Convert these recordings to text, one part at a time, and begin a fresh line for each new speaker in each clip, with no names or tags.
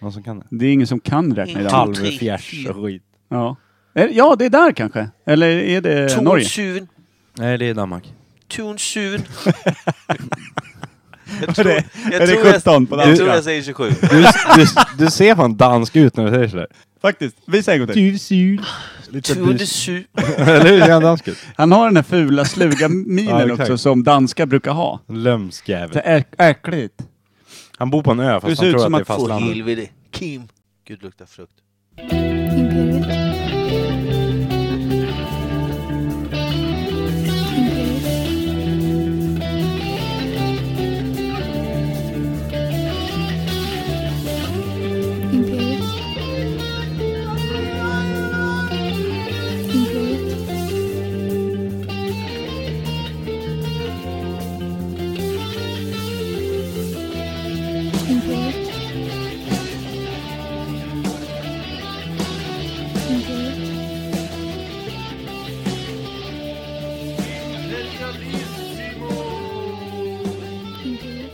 Någon som kan det?
Det är ingen som kan räkna idag.
Halv.
Halvfjärs och skit.
Ja. Är- ja, det är där kanske. Eller är det Eh, Norge?
Tornsun.
Nej, det är Danmark.
Tornsun.
är det 17 på
Jag
danska?
tror jag säger 27.
Du, du, du ser fan dansk ut när du säger sådär.
Faktiskt. Vi säger en gång till.
Tursul. Lite bus.
Tornsun.
Eller hur? Ser han dansk ut?
Han har den här fula sluga minen
Ja, exakt.
också som danskar brukar ha.
Lömskjävel.
äckligt.
Han bor på en ö
Du
fast
ser
han
ut
tror att
som
det är
att få
Åh
fastlandet.
helvete. Kim. Gud luktar frukt.
Imperiet. Imperiet. Imperiet. Imperiet. Imperiet. Imperiet. Imperiet.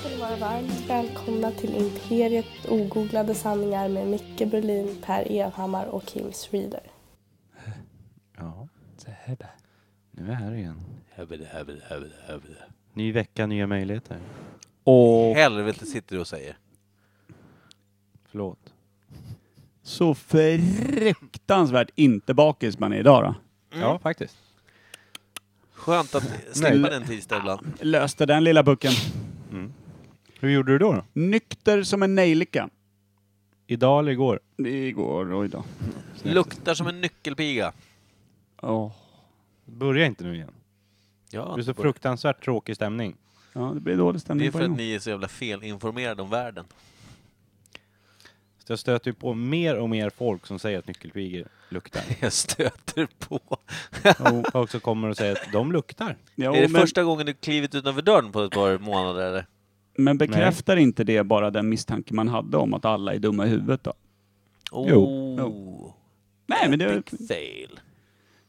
ska ni vara varmt välkomna till Imperiet ogooglade sanningar med Micke Berlin, Per Evhammar och Kim Schreeder.
Ja, nu är vi här igen.
Helvete, helvete, helvete, helvete.
Ny vecka, nya möjligheter.
Och
Helvete sitter du och säger.
Förlåt.
så fruktansvärt inte bakis man är idag då.
Mm. Ja, faktiskt.
Skönt att slippa den tisdag ibland.
Löste den lilla bucken.
Hur gjorde du då? då?
Nykter som en nejlika.
Idag eller igår?
Igår och idag.
Luktar som en nyckelpiga.
Ja.
Börja inte nu igen.
Ja,
Det är så fruktansvärt tråkig stämning.
Ja, det blir dålig
det
stämning
är
på
för
en
att
gång.
ni är så jävla felinformerade om världen.
Så jag stöter ju på mer och mer folk som säger att nyckelpigor luktar.
Jag stöter på.
Och folk som kommer och säger att de luktar.
Jo,
är det
men,
första gången du klivit utanför dörren på ett par månader eller?
men bekräftar inte det bara den misstanke man hade om att alla är dumma i huvudet då?
Oh.
Jo.
Nej, men det...
Big fail.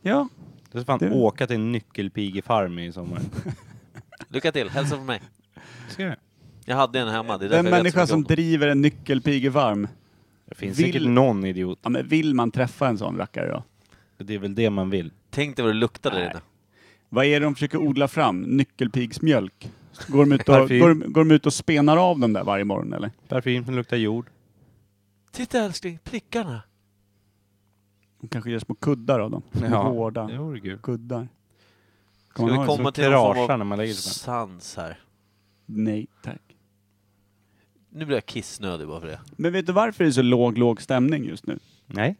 Ja.
Du ska fan
Det-
åka till en nyckelpigefarm i sommar.
Lycka till, hälsa från mig.
Ska jag?
Jag hade en hemma, det är
Den
därför jag vet så
människa
mycket
som
om dem.
driver en nyckelpiga varm.
Det finns
Vill-
säkert någon idiot.
Ja, men vill man träffa en sån rackare då?
Det är väl det man vill.
Tänk dig vad det luktade där
Nej.
inne.
Vad är det de försöker odla fram? Nyckelpigsmjölk? Går de ut och,
Parfym.
går, de- går de ut och spenar av dem där varje morgon eller?
Parfym som luktar jord.
Titta älskling, prickarna.
De kanske gör små kuddar av dem.
Ja.
Hårda
Det vore kul.
kuddar. Kan
Ska vi
man ha det
komma
som-
till någon
terrasar när
form
man
av
lägger sig på.
sans här?
Nej, tack.
Nu blir jag kissnödig bara för det.
Men vet du varför det är så låg, låg stämning just nu?
Nej.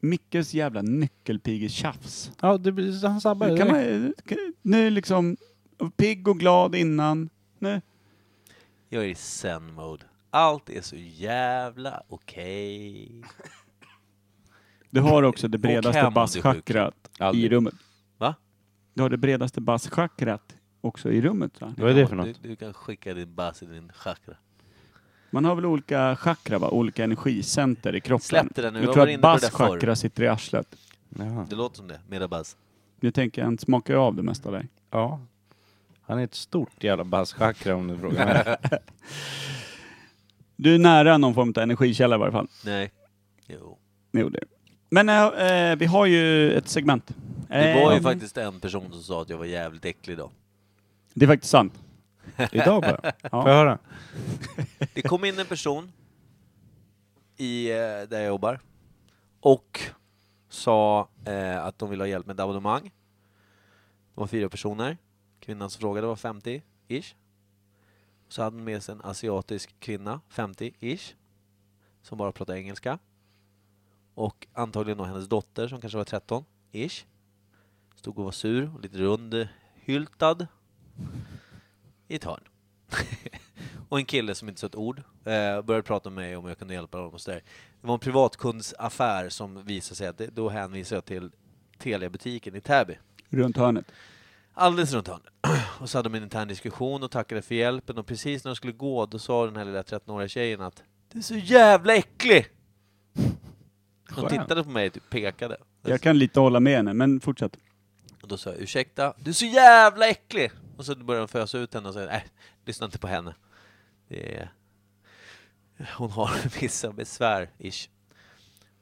Mickes jävla nyckelpigetjafs.
Ja, det blir, han sabbar
Nu
det
Kan
direkt.
man, nu liksom, pigg och glad innan. Nu.
Jag är i zen-mode. Allt är så jävla okej.
Du har också det
hem
bredaste
om du är sjuk.
basschakrat i
Aldrig.
rummet.
Va?
Du har det bredaste basschakrat också i rummet. Va?
Vad är det för något?
Du, du kan skicka din bass i din chakra.
Man har väl olika chakra, va? olika energicenter i kroppen.
Släpp det där nu,
Jag
jag
tror
var
att
inne på det
Bas
där förr.
chakra sitter i arslet.
Jaha.
Det låter som det, mera bass.
Nu tänker jag, han smakar ju av det mesta där.
Ja. Han är ett stort jävla basschakra om du frågar mig.
Du är nära någon form av energikälla i varje fall.
Nej. Jo.
Jo, det är du. Men eh, eh, vi har ju ett segment.
Det var ju
Eh,
faktiskt en person som sa att jag var jävligt äcklig idag.
Det är faktiskt sant.
Idag bara. Får jag höra?
Det kom in en person i, eh, där jag jobbar och sa eh, att de ville ha hjälp med ett abonnemang. De var fyra personer. Kvinnan som frågade var 50-ish. Så hade de med sig en asiatisk kvinna, 50-ish, som bara pratade engelska. Och antagligen då hennes dotter som kanske var 13-ish. Stod och var sur och lite rundhyltad i ett hörn. Och en kille som inte sa ett ord eh, började prata med mig om jag kunde hjälpa honom och sådär. Det var en privatkundsaffär som visade sig att det, då hänvisade jag till Telia-butiken i Täby.
Runt hörnet.
Alldeles runt hörnet. Och så hade de en intern diskussion och tackade för hjälpen och precis när de skulle gå då sa den här lilla 13-åriga tjejen att Du är så jävla äcklig! Hon
Skönt.
tittade på mig och typ pekade.
Jag kan lite hålla med henne, men fortsätt.
Och då sa jag ursäkta, du är så jävla äcklig! Och så började de fösa ut henne och säga nej, lyssna inte på henne. Det är, hon har vissa besvär, ish.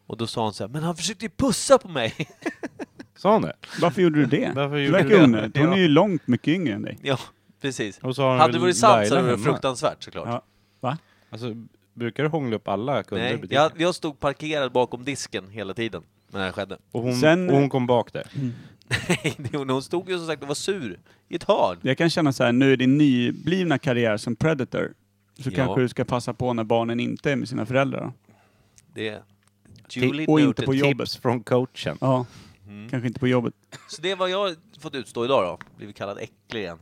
Och då sa hon så här, men han försökte ju pussa på mig!
Sa hon det?
Varför gjorde du det?
Varför
Det
gjorde du
verkar
det?
onödigt. Hon
Ja.
är ju långt mycket yngre än dig.
ja, precis.
Och så har hon
Hade det
väl
varit sant så
Laila
hade det varit
hemma.
fruktansvärt såklart.
Ja. Va?
Alltså, brukar du hångla upp alla kunder i
Nej,
butiken?
jag, jag stod parkerad bakom disken hela tiden när det här skedde.
Och, hon,
Sen-
och hon kom bak där?
Nej, det- hon stod ju som sagt och var sur i ett hörn.
Jag kan känna så här, nu i din nyblivna karriär som predator, så
Ja.
kanske du ska passa på när barnen inte är med sina föräldrar. då.
Det, Julie
och inte
Newton.
på jobb. jobbet.
Tips från coachen.
Ja,
Mm.
kanske inte på jobbet.
Så det är vad jag har fått utstå idag då. Blivit kallad äcklig igen.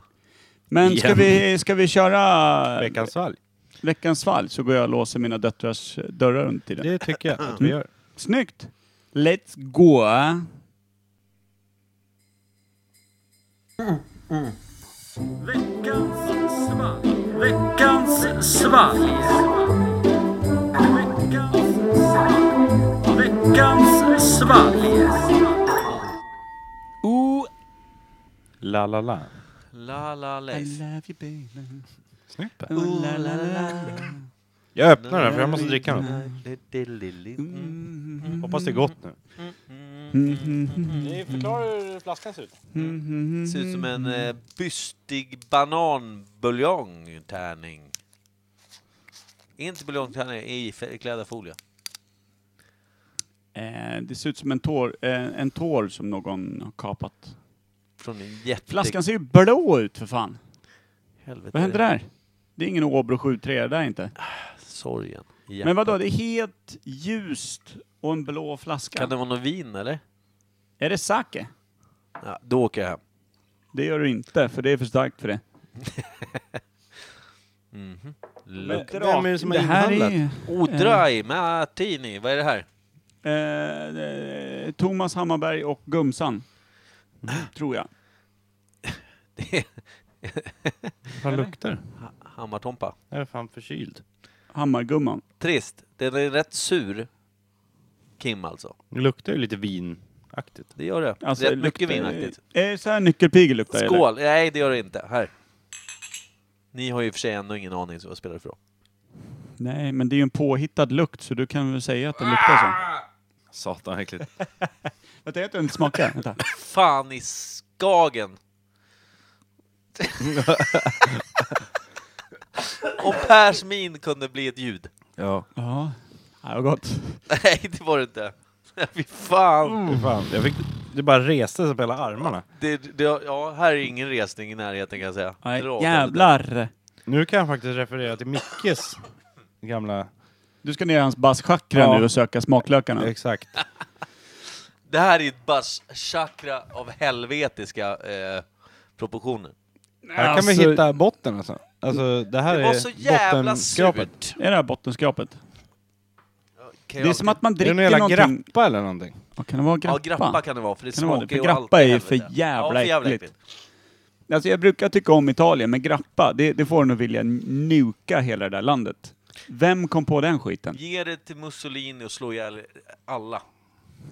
Men ska
Igen.
vi, ska vi köra
Veckans svalg.
veckans fall så går jag och låser mina döttrars dörrar under tiden.
Det tycker jag att vi
Mm.
gör.
Snyggt! Let's go! Ooh,
La la la.
La la
I
Leif.
love you baby.
Snyggt.
Ooh, la la la.
Jag öppnar den för jag måste dricka den.
Mm.
Hoppas det är gott nu. Förklara hur flaskan ser ut.
Mm,
Det ser ut som en eh, bystig bananbuljongtärning. Inte buljongtärning, i f- klädarfolie.
Eh, det ser ut som en tår, eh, en tår som någon har kapat.
Från en jätte...
Flaskan ser ju blå ut för fan.
Helvete.
Vad hände där? Det är ingen Åbro 73 det där är inte.
Sorgen. i
Men
hjärtat.
vadå, det är helt ljust och en blå flaska.
Kan det vara något vin eller?
Är det sake?
Ja, då åker jag hem.
Det gör du inte, för det är för starkt för det.
Mhm.
Men-
Look.
Vem är det som har
här är eh,
inhandlat?
Odrai Martini, vad är det här?
ju, eh, eh, Thomas Hammarberg och Gumsan. Tror jag.
Det är
Vad luktar det?
ha- Hammartompa.
Jag är fan förkyld.
Hammargumman.
Trist. Den är rätt sur. Kim alltså.
Det luktar ju lite vinaktigt.
Det gör det.
Alltså,
rätt mycket
luktar-
vinaktigt.
Är det så här nyckelpigor luktar? eller?
Skål! Nej, det gör det inte. Här. Ni har ju i och för sig ändå ingen aning vad jag spelar för.
Nej, men det är ju en påhittad lukt, så du kan väl säga att den luktar så.
Satan äckligt.
Vänta, jag tror den smakar. Vänta.
Fan i skagen! Om Pers min kunde bli ett ljud.
Ja.
Ja, det var gott.
Nej, det var det inte. Fy fan!
Fy Fan. Jag fick, det bara reste sig på hela armarna.
Det, det, ja, här är ingen resning i närheten kan jag säga.
Nej,
Dra åt helvete.
jävlar!
Nu kan jag faktiskt referera till Mickes gamla...
Du ska ner i hans basschakra
Ja.
nu och söka smaklökarna.
Exakt.
Det här är ett bas-chakra av helvetiska eh, proportioner.
Här kan vi hitta botten alltså. Alltså det här
Det var
är
så jävla
bottenskrapet.
surt!
Är det här bottenskrapet?
Kan
Det är
jag
som att man
Det är
dricker
någon jävla
någonting...
grappa eller någonting. Alltså,
Ja, kan det vara grappa?
Ja, grappa kan det vara, för det
Kan det vara det?
smakar ju
För grappa
alltid
är ju för
helvete.
jävla
ja, för jävla
äckligt. Alltså jag brukar tycka om Italien, men grappa, det, det får en att vilja nuka hela det där landet. Vem kom på den skiten?
Ge det till Mussolini och slå ihjäl alla.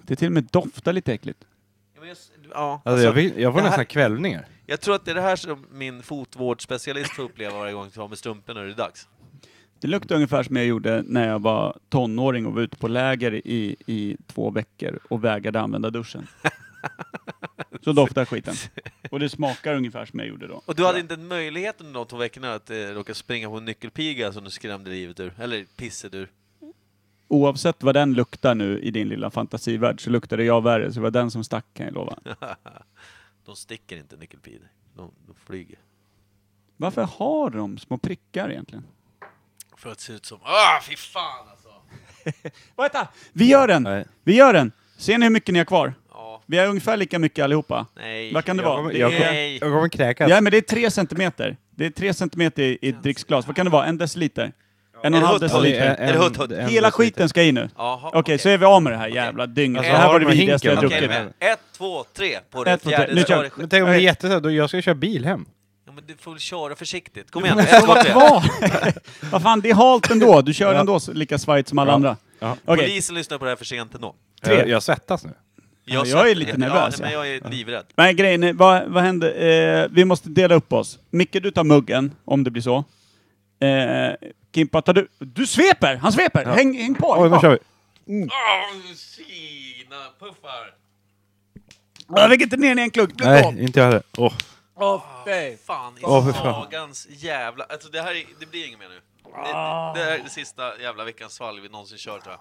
Det till och med doftar lite äckligt.
Ja, men jag, s- ja,
Alltså, jag,
alltså,
fick, jag får
det här-
nästan kvällningar.
jag tror att det är det här som min fotvårdsspecialist får uppleva varje gång jag tar med strumporna och det är dags.
Det luktar ungefär som jag gjorde när jag var tonåring och var ute på läger i, i två veckor och vägrade använda duschen. Så doftar skiten. Och det smakar ungefär som jag gjorde då.
Och du hade inte en möjlighet under de två veckorna att eh, råka springa på en nyckelpiga som du skrämde livet ur, eller pisset ur.
Oavsett vad den luktar nu i din lilla fantasivärld så luktade jag värre, så det var den som stack kan jag lova.
De sticker inte nyckelpigor, de, de flyger.
Varför har de små prickar egentligen?
För att se ut som... Ah, fy fan alltså!
Vänta! Vi gör den!
Nej.
Vi gör den! Ser ni hur mycket ni har kvar?
Ja,
Vi har ungefär lika mycket allihopa.
nej.
Vad kan det
Jag
vara?
kommer,
Det
jag kommer,
är...
Nej.
jag kommer kräkas.
Ja, men det är tre centimeter. Det är tre centimeter i, i dricksglas. Vad kan det vara? En deciliter? En och en halv
Alltså,
Är det hutt, hutt?
deciliter?
Är det hutt, hutt?
Hela skiten ska in nu.
Jaha,
Okej, så är vi av med det här jävla dynget.
Alltså,
det här
har
var
du
det
med
vidrigaste jag
hinken?
druckit.
Okej, men ett, två, tre på det
Ett, två, tre.
fjärde.
Nu
så
kör
var
vi.
det
Men
skit.
tänk om det är jättesött och jag ska köra bil hem.
Ja, men du får väl köra försiktigt. Kom igen,
måste
ett, två,
vara
tre.
kvar! Vad fan, det är halt ändå. Du kör ändå så- lika svajigt som alla
Ja.
andra.
Ja.
Okej,
Polisen lyssnar på det här för sent ändå.
Tre.
Jag, jag svettas nu.
Ja, jag är lite
ja,
nervös,
Ja, men jag är livrädd.
men grejen är, vad, vad händer? Eh, vi måste dela upp oss. Micke, du tar muggen, om det blir så. Eh, Kimpa, tar du... Du sveper! Han sveper! Häng, häng på!
Oj, nu kör vi!
Åh, Kina puffar!
Jag lägger inte ner den i en klunk. Bli
Nej,
av.
inte jag heller. Åh,
Åh, dig.
Fan, i
Åh, för fan.
sagans jävla... Alltså det här är, det blir inget mer nu. Det,
Ah.
det, det här är det sista jävla veckans svalg vi någonsin kör tror jag.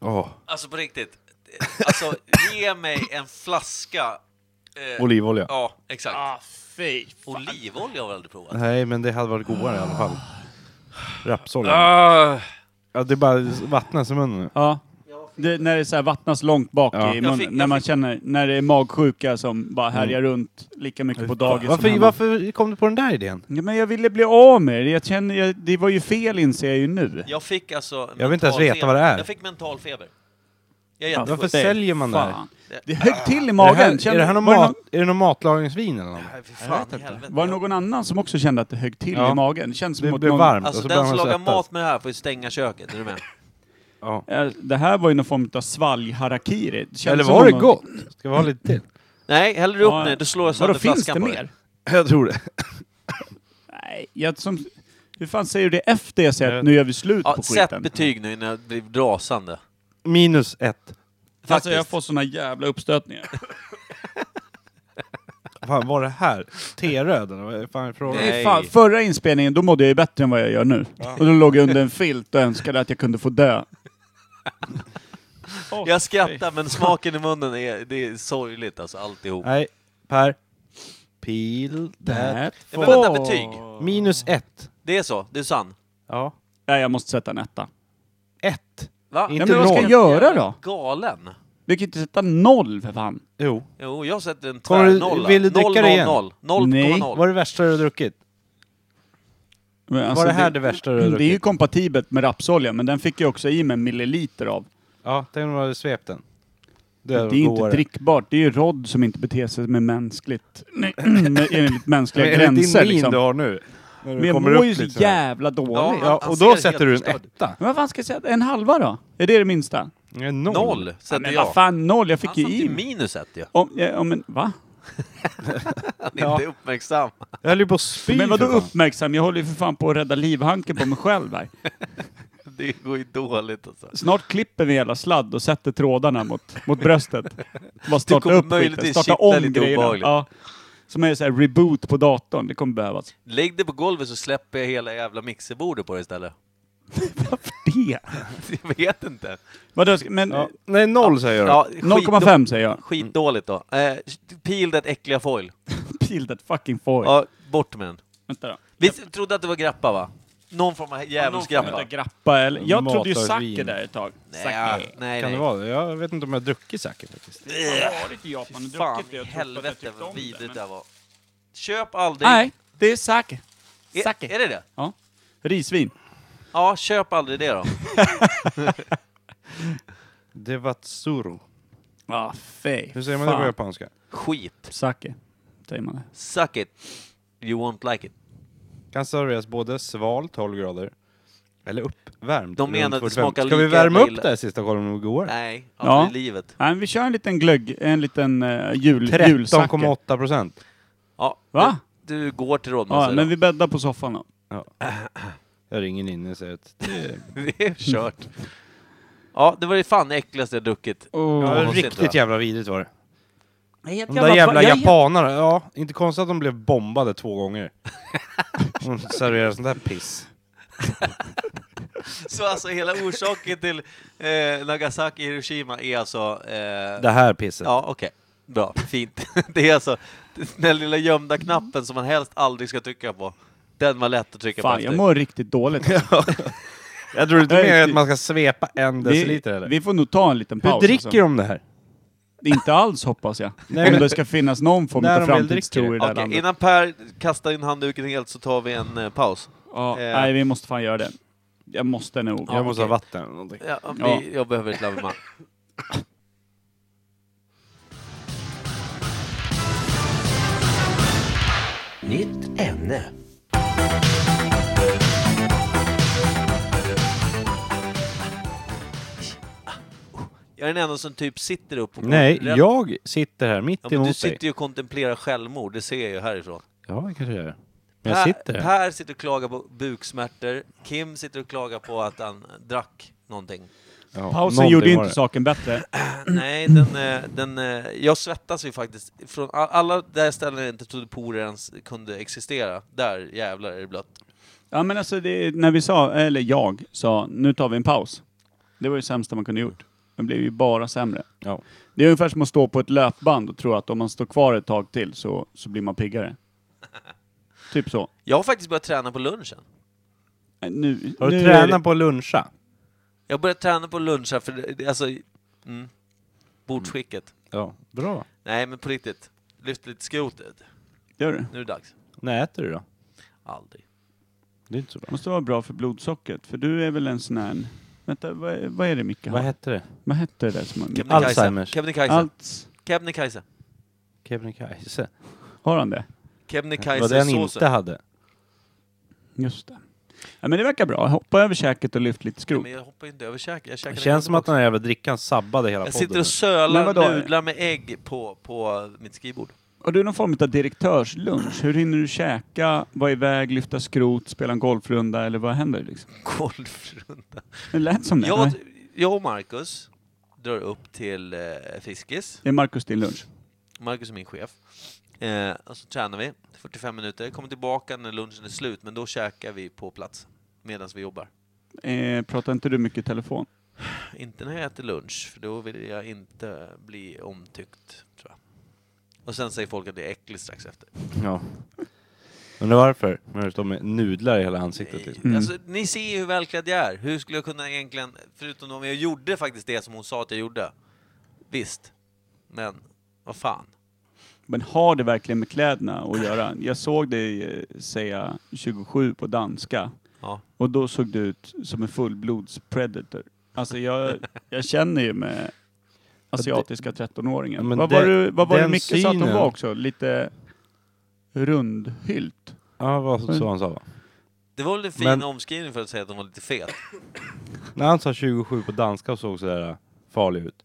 åh.
Alltså på riktigt. Alltså ge mig en flaska... eh,
Olivolja.
Ja, exakt.
Ah, fy.
Olivolja har jag aldrig provat.
Nej, men det hade varit godare i alla fall. Rapsolja.
Ah,
Ja, det bara vattnas i munnen nu.
Ja. Det, när det så här vattnas långt bak
Ja.
i
Jag
munnen.
fick- jag
när man
fick-
känner, när det är magsjuka som bara härjar runt lika mycket på dagis som
Varför,
hemma.
varför kom du på den där idén?
Ja, men jag ville bli av med det. Jag känner, jag, det var ju fel inser jag ju nu.
jag fick alltså...
vill inte ens
mental
veta
feber.
vad det är.
Jag fick mental feber. Jag är
Ja,
Varför
jättesjuk.
det-
säljer man det här?
Fan. Det högg till i
är,
magen.
det här, är,
Kände-
det här någon
var, det
mat, är det någon matlagningsvin eller något?
Nej, fy
Jag
fan
vet
i
inte.
helvete.
var det någon annan som också kände att det högg till
Ja.
i magen? Det känns som
Det
att
blev
någon...
varmt och
Alltså
så
den
började
som
man
lagar
svettas.
mat med det här får ju stänga köket, är du med?
Ja.
Ja, Det här var ju någon form av svalgharakiri. Det känns
Eller
som
var det
någon-
gott? Ska vi ha lite till?
Nej, häller du upp nu, då slår jag sönder
Vadå, finns
flaskan
det
på
mer?
dig.
Jag tror det.
Nej, jag som... Hur fan säger du det efter jag säger
Jag
att nu gör vi slut
Ja,
på
sätt
skiten?
betyg nu innan jag blir rasande.
Minus ett.
Alltså
Faktiskt.
jag får såna jävla uppstötningar.
Fan, var det här? T-röd eller vad är fan frågan?
Nej.
Nej. Fan, förra inspelningen då mådde jag ju bättre än vad jag gör nu. Och då låg jag under en filt och önskade att jag kunde få dö.
Jag skrattar men smaken i munnen är, det är sorgligt alltså alltihop.
Nej, Per. Peel that.
Nej,
Ja, men vänta, betyg.
Minus ett.
Det är så, det är sann.
Ja.
Nej, jag måste sätta en etta.
Ett.
Va?
Inte
Ja, men vad ska
noll.
jag göra då?
Galen?
Du kan ju inte sätta noll för fan.
Jo.
Jo, jag sätter en
Kommer du-
tvärnolla.
vill du dricka det igen?
0,00. 0,0.
Nej.
Vad är det värsta du har druckit?
Men
var
alltså,
det här det, värsta du har
det,
druckit?
är ju kompatibelt med rapsolja, men den fick jag också i mig en milliliter av.
Ja, tänk om du hade svept den.
Det är
var
ju inte
godare.
drickbart. Det är ju rodd som inte beter sig med mänskligt... Nej, med- enligt
Men
mänskliga
Är det din
gränser
min
liksom.
du har nu? När du
Men jag
kommer
mår
upp
ju
lite
så
sådär.
jävla dåligt.
Ja,
Ja,
Han
och
ser
då
helt
sätter du en
förstörd.
etta.
Men vad fan ska jag säga? En halva då? Är det det minsta?
Nej,
Noll
Ja,
sätter
men vad
jag.
fan noll? Jag
Han
fick ju
satt
i
ju
mig.
minus ett ju.
Om, ja, om en, va?
Han är
Ja.
inte uppmärksam.
Jag höll ju på att spy
Men vadå
för fan.
uppmärksam? Jag håller ju för fan på att rädda livhanken på mig själv här.
Det går ju dåligt alltså.
Snart klipper vi hela sladd och sätter trådarna mot, mot bröstet. Bara starta
kommer
upp skiten,
möjligtvis
starta
kittla
om
lite
grejerna.
obehagligt.
Ja. Som är så här reboot på datorn, det kommer behövas.
Lägg det på golvet så släpper jag hela jävla mixerbordet på det istället.
Varför det?
Jag vet inte.
Vadå, ska- men
Ja. Nej, noll säger jag.
Ja, skitdå-
0,5 säger jag.
Skitdåligt då. Eh, peel det äckliga foil.
Peel that fucking foil.
Ja, bort med den.
Vänta då.
Vi trodde att det var grappa va? Någon form av djävulsgrappa.
Vänta, grappa eller? Jag trodde ju
Matarvin.
sake där ett tag.
Nej, nej.
Kan det
nej.
vara det? Jag vet inte om jag har druckit säkert faktiskt.
Jag har varit i Japan och
Fan
druckit det
i
och trott att jag
helvete
tyckte
vad
om det.
vidrigt
men-
det var. Köp aldrig...
Nej, det är sake.
är,
Sake.
är det det?
Ja. Risvin.
Ja, köp aldrig det då.
Det var tsuru.
Ah, fej.
Hur säger man det på japanska?
Skit.
Sake, säger man det.
Suck it. You won't like it.
Kan serveras både sval, 12 grader, eller uppvärmd.
De menar
runt
att det
45.
smakar
Ska vi
lika
värma
jävla
upp
illa.
det här sista kolumnen och går?
Nej,
Ja.
aldrig i livet.
Nej, men vi kör en liten glögg, en liten uh, jul, julsake.
13,8 procent.
Ja,
Va?
Du, du går till
Ja,
rådmansare.
men vi bäddar på soffan då.
Jag ringer in och säger att
det är kört. Ja, det var det fan det äckligaste jag druckit.
Oh.
Ja,
vad sitter
riktigt
jag?
jävla vidrigt var det.
Helt
De där jävla japanerna, ja, inte konstigt att de blev bombade två gånger. De serverar sånt där piss.
Så alltså hela orsaken till eh, Nagasaki Hiroshima är alltså... Eh,
Det här pisset.
ja, okej. Bra, fint. det är alltså den lilla gömda knappen som man helst aldrig ska trycka på. Den var lätt att trycka på
Fan,
efter.
jag mår riktigt dåligt.
Jag tror inte
Nej,
mer att
det-
man ska svepa en deciliter eller?
vi, vi får nog ta en liten
Hur
paus. alltså.
dricker de det här?
Det är Inte alls hoppas jag.
Nej,
Om
men-
det ska finnas någon form
När
av
de väl
framtidstro i det
dricker.
här
Okej,
landet.
innan Per kastar in handduken helt så tar vi en eh, paus.
Ja,
eh,
Nej, vi måste fan göra det. Jag måste nog.
jag måste ha vatten eller någonting.
Ja, om
Ja.
Vi, jag behöver ett lavemang.
Nytt ämne.
Jag är den enda som typ sitter upp och...
Nej,
Rätt-
jag sitter här mitt
Ja, men du
emot dig.
sitter ju och kontemplerar självmord, det ser jag ju härifrån.
Ja, jag kanske gör det. Men jag sitter här.
per sitter och klagar på buksmärtor. Kim sitter och klagar på att han drack någonting.
Ja,
Pausen
någonting
gjorde
var
inte
det.
saken bättre.
Nej, den, eh, den, eh, jag svettas ju faktiskt. Från a- alla där ställen jag inte trodde porer ens kunde existera, där jävlar är det blött.
Ja men alltså det, när vi sa, eller jag sa, nu tar vi en paus. Det var det sämsta man kunde gjort. Det blev ju bara sämre.
Ja.
Det är ungefär som att stå på ett löpband och tro att om man står kvar ett tag till så, så blir man piggare. typ så.
Jag har faktiskt börjat träna på lunchen.
Nej, Nu,
Har
nu
du
är
tränat på att luncha?
Jag har börjat träna på lunchen för det- det- alltså... Mm, bordsskicket.
Ja. Bra.
Nej, men på riktigt. Lyft lite skrotet.
det, gör du.
Nu är det dags.
När äter du då?
Aldrig.
Det är inte så bra.
måste vara bra för blodsockret, för du är väl en sån här... Vänta, vad, är- vad är det Micke
Vad
har?
hette det?
Vad hette det där som man...
Kebnekaise.
Alzheimers.
Kebnekaise.
Allt...
Kebnekaise.
Kebnekaise?
Har han det?
Det var det han inte
Kebnekaise-såsen.
hade.
Just det. Ja, men det verkar bra. Hoppa över käket och lyft lite
Ja,
skrot.
Men jag hoppar inte över käken. Jag käkar
Det
den
känns som
också.
att den här jävla drickan sabbade hela
Jag
podden.
sitter och
Men
sölar
vadå?
nudlar med ägg på, på mitt skrivbord.
Har du någon form av direktörslunch? Hur hinner du käka, vara iväg, lyfta skrot, spela en golfrunda eller vad händer? Liksom?
Golfrunda.
Det lät som det.
Jag,
Nej.
jag och Marcus drar upp till eh, Fiskis.
Är Marcus din lunch?
Marcus är min chef. Eh, och så tränar vi 45 minuter. Kommer tillbaka när lunchen är slut, men då käkar vi på plats medan vi jobbar.
Eh, pratar inte du mycket i telefon?
Inte när jag äter lunch, för då vill jag inte bli omtyckt, tror jag. Och sen säger folk att det är äckligt strax efter.
Ja. Undrar varför? Men det står med nudlar i hela ansiktet.
Nej.
Liksom.
Mm.
Alltså, ni ser ju hur välklädd jag är. Hur skulle jag kunna egentligen, förutom om jag gjorde faktiskt det som hon sa att jag gjorde. Visst. Men, vad fan.
Men har det verkligen med kläderna att göra? Jag såg dig eh, säga 27 på danska
Ja.
och då såg du ut som en fullblodspredator. Alltså jag, jag känner ju med asiatiska
Ja,
13-åringen.
men
vad
det-
var, du, vad var det
den
Micke sa att hon
synen-
var också? Lite rundhylt?
Ja, vad så han sa va?
Det var väl en fin
Men-
omskrivning för att säga att hon var lite fet.
När han sa 27 på danska och såg sådär äh, farlig ut.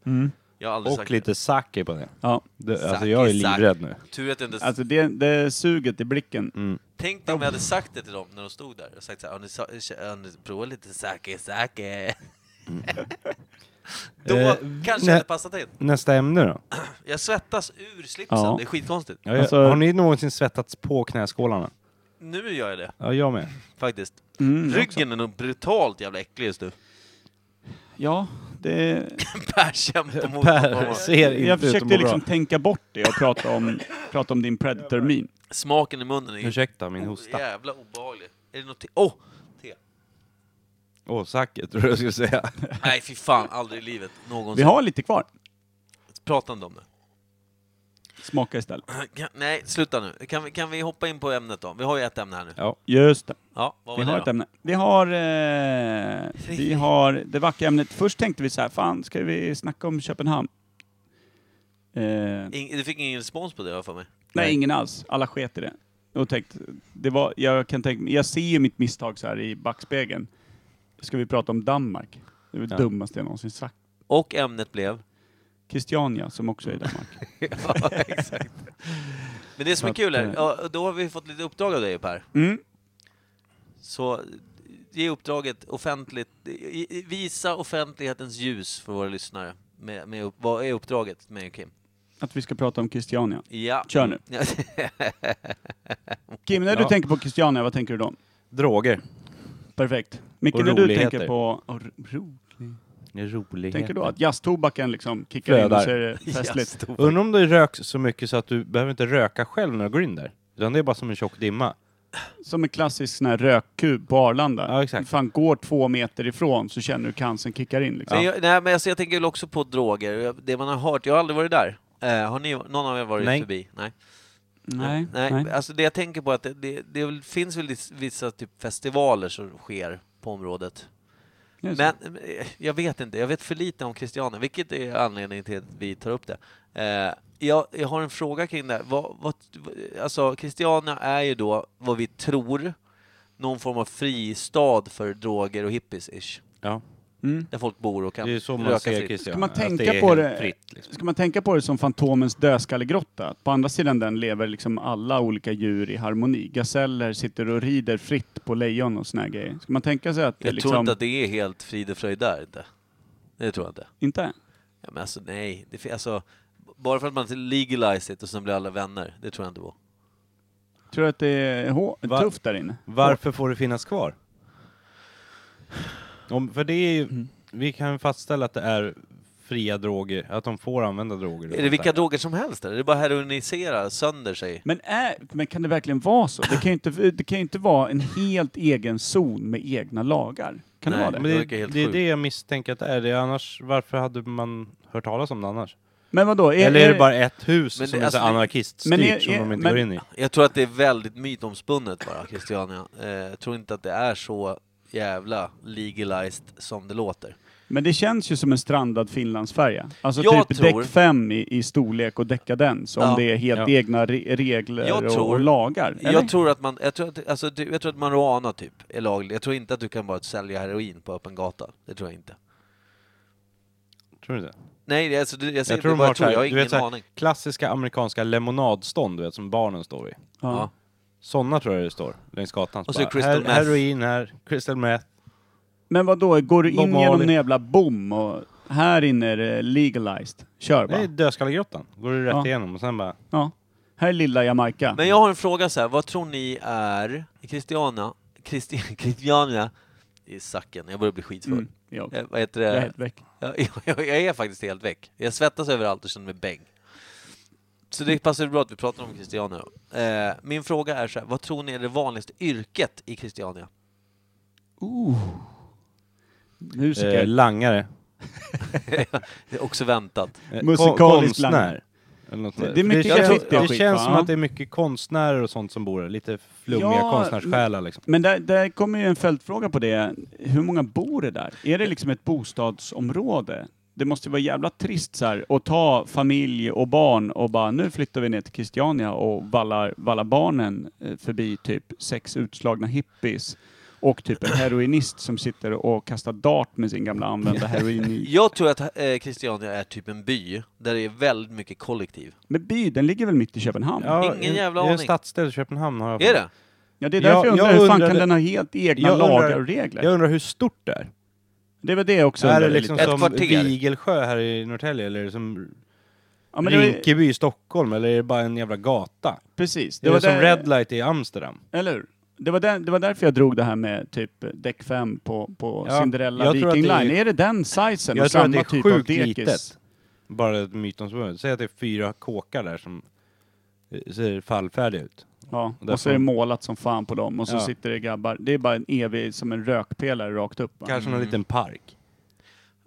Jag har aldrig
Och
sagt
lite sake på det.
Ja.
det alltså
Mm. Sake,
jag är
sake.
livrädd nu.
det. Tur att jag inte...
Alltså det, det suget i blicken.
Mm.
Tänk dig om jag hade sagt det till dem när de stod där. Och sagt såhär, "Ja, ni sa- ja, ni prova lite sake, sake. Då
Eh,
kanske jag
nej.
hade passat in.
Nästa ämne då?
Jag svettas ur slipsen,
Ja.
det är skitkonstigt.
Ja, jag,
Alltså-
Har ni någonsin svettats på knäskålarna?
Nu gör jag det,
Ja, jag med.
faktiskt.
Mm, jag också.
Ryggen är nog brutalt jävla äcklig just nu.
Ja, det...
Per kämpar mot
Per ser inte
Jag
ut att må
försökte liksom
bra.
tänka bort det och prata om, prata om din predator-min.
Smaken i munnen är
Ursäkta min
o-
hosta.
jävla obehaglig. Är det något te? Åh! te!
Åh, sake tror jag jag skulle säga.
Nej fy fan, aldrig i livet
Vi
någonsin.
har lite kvar.
Prata inte om det.
Smaka istället.
Kan- Nej, sluta nu. Kan vi, kan vi hoppa in på ämnet då? Vi har ju ett ämne här nu.
Ja.
Just det.
Ja, vad
Vi
var
har
det
ett
då?
ämne. Vi har, eh, vi har det vackra ämnet. Först tänkte vi så här, fan ska vi snacka om Köpenhamn? Eh,
In, du fick ingen respons på det har jag för mig.
Nej, ingen alls. Alla sket i det. Och tänkte, det var, jag, kan tänka, jag ser ju mitt misstag så här i backspegeln. Ska vi prata om Danmark? Det är det
Ja.
dummaste jag någonsin sagt.
Och ämnet blev?
Christiania, som också är i Danmark.
ja, exakt. Men det som
Så
är kul
att,
är,
eh,
ja, då har vi fått lite uppdrag av dig Per.
Mm.
Så ge uppdraget offentligt, i- i- visa offentlighetens ljus för våra lyssnare. Med, med, upp- vad är uppdraget med Kim?
Att vi ska prata om Christiania.
Ja.
Kör nu.
Ja,
Kim, när du
Ja.
tänker på Christiania, vad tänker du då?
Droger.
Perfekt. Micke,
Och
när du
roligheter.
tänker på... Och ro, ro,
Det är roligheter.
tänker då att jazztobaken liksom kickar in
Flödar.
och så är det festligt?
stor.
Undrar om det röks så mycket så att du behöver inte röka själv när du går in där. Utan det är bara som en tjock dimma.
Som en klassisk sån här rökkub på Arlanda.
Ja, exakt.
Du fan går två meter ifrån så känner du cancern kickar in liksom.
Men jag, nej, men alltså, jag tänker väl också på droger. Jag- Det man har hört, jag har aldrig varit där. Eh, har ni, någon av er varit
Nej.
förbi? Nej.
Nej,
nej.
nej.
Alltså det jag tänker på är att det, det, det är väl- finns väl lis- vissa typ festivaler som sker på området.
Just det.
Men eh, jag vet inte, jag vet för lite om Christiania, vilket är anledningen till att vi tar upp det. Eh, jag, jag har en fråga kring det här. Vad, vad, alltså Christiania är ju då, vad vi tror, någon form av fristad för droger och hippies-ish.
Ja.
Mm.
där folk bor och kan
Det är så man
röka
ser
fritt.
Christian.
Ska man
att
tänka
det är
på
helt
det-
Fritt, liksom.
Ska man tänka på det som Fantomens dödskallegrotta? Att På andra sidan den lever liksom alla olika djur i harmoni. Gaseller sitter och rider fritt på lejon och såna här grejer. Ska man tänka sig att det
Jag
liksom...
tror inte att det är helt frid och fröjd där inte. Det tror jag inte.
Inte?
Ja, men alltså nej, det, fin- alltså, bara för att man inte legalize it och sen blir alla vänner, det tror jag inte på.
Tror du att det är hå-
Va-
tufft där inne?
Varför får det finnas kvar? Om, för det är ju,
Mm.
vi kan fastställa att det är fria droger, att de får använda droger.
Är det vilka droger som helst eller? Det är bara heroinisera sönder sig.
Men, är, men kan det verkligen vara så? Det kan ju inte, det kan ju inte vara en helt egen zon med egna lagar. Kan
Nej,
det vara
Men
det?
Det
det,
verkar helt
det är
sjukt.
det jag misstänker att det är. Det är annars, varför hade man hört talas om det annars?
Men vadå? Är,
Eller är det bara ett hus
Men det-
som är
alltså,
så
det-
anarkiststyrt
Men är-
som
är-
de inte
men-
går in i?
Jag tror att det är väldigt mytomspunnet bara, Christiania. Eh, jag tror inte att det är så jävla legalized som det låter.
Men det känns ju som en strandad Finlandsfärja. Alltså
Jag
typ
tror-
däck 5 i, i storlek och dekadens, om
Ja.
det är helt
Ja.
egna re- regler
Jag
och,
tror-
och lagar. Eller?
Jag tror att man, jag tror att, alltså, det- jag tror att marijuana typ är lagligt. Jag tror inte att du kan bara sälja heroin på öppen gata. Det tror jag inte.
Tror du det?
Nej, det- alltså, det- jag säger
Jag tror
det
de
bara
har
jag tror, jag
såhär,
har
du
ingen
vet såhär,
aning.
klassiska amerikanska lemonadstånd du vet, som barnen står vid.
ja.
Ja.
Sådana tror jag det står, längs gatan.
Och så
Bara,
crystal meth.
Heroin här, crystal meth.
Men vad då? går du
Bob
in genom
Marley.
en jävla bom och här inne är det legalized? Kör
Det är
bara.
Dödskallegrottan. Går du rätt
Ja.
igenom och sen bara...
Ja. Här är lilla Jamaica.
Men jag har en fråga så här. vad tror ni är Christiana, Christi, Christiania, i sacken, jag börjar bli skitfull.
Mm, ja.
Eh, vad heter
Jag är
det?
helt väck.
Jag, jag, jag är faktiskt helt väck. Jag svettas överallt och känner mig bäng. Så det passar ju bra att vi pratar om Christiania då. eh, Min fråga är så här, vad tror ni är det vanligaste yrket i Christiania?
Uh. Musiker.
Eh, langare.
Det är också väntat.
Eh,
Musikalisk
kon- konstnär.
langare.
Eller något
Det-
sånt där.
det är
För
mycket
känns,
graffiti och
det
skit,
känns
va?
som att det är mycket konstnärer och sånt som bor där. Lite flummiga
Ja,
konstnärssjälar liksom.
Men där, där kommer ju en följdfråga på det. Hur många bor det där? Är det liksom ett bostadsområde? Det måste ju vara jävla trist så här att ta familj och barn och bara nu flyttar vi ner till Christiania och vallar, vallar barnen eh, förbi typ sex utslagna hippies och typ en heroinist som sitter och kastar dart med sin gamla använda heroin i.
Jag tror att eh, Christiania är typ en by där det är väldigt mycket kollektiv.
Men by, den ligger väl mitt i Köpenhamn? Ja,
Ja,
Ingen jävla
det är en
aning.
stadsdel i Köpenhamn har jag
Är det?
det är därför
Jag-
jag undrar,
jag
hur fan
undrade-
kan den ha helt egna
Jag undrar-
lagar och regler?
Jag undrar hur stort det är.
det var det jag också
är
undrade
det liksom
lite. Ett
som
kvarter.
Vigelsjö här i Norrtälje eller är det som
ja, men det var,
Rinkeby i Stockholm eller är det bara en jävla gata?
precis.
Det är det som
där-
Red Light i Amsterdam.
Eller hur? Det var, där, det var därför jag drog det här med typ däck 5 på, på
Ja,
Cinderella
jag tror
Viking Line.
att det är-
Är... det den sizen?
Jag
och
tror
samma
att det är
typ av
sjukt
dekis?
litet. Bara ett mytomspunnet. Säg att det är fyra kåkar där som eh, ser fallfärdiga ut.
Ja,
Därför-
och så är det målat som fan på dem och så
Ja.
sitter det grabbar. Det är bara en evig, som en rökpelare rakt upp. Va? Mm.
Kanske någon liten park.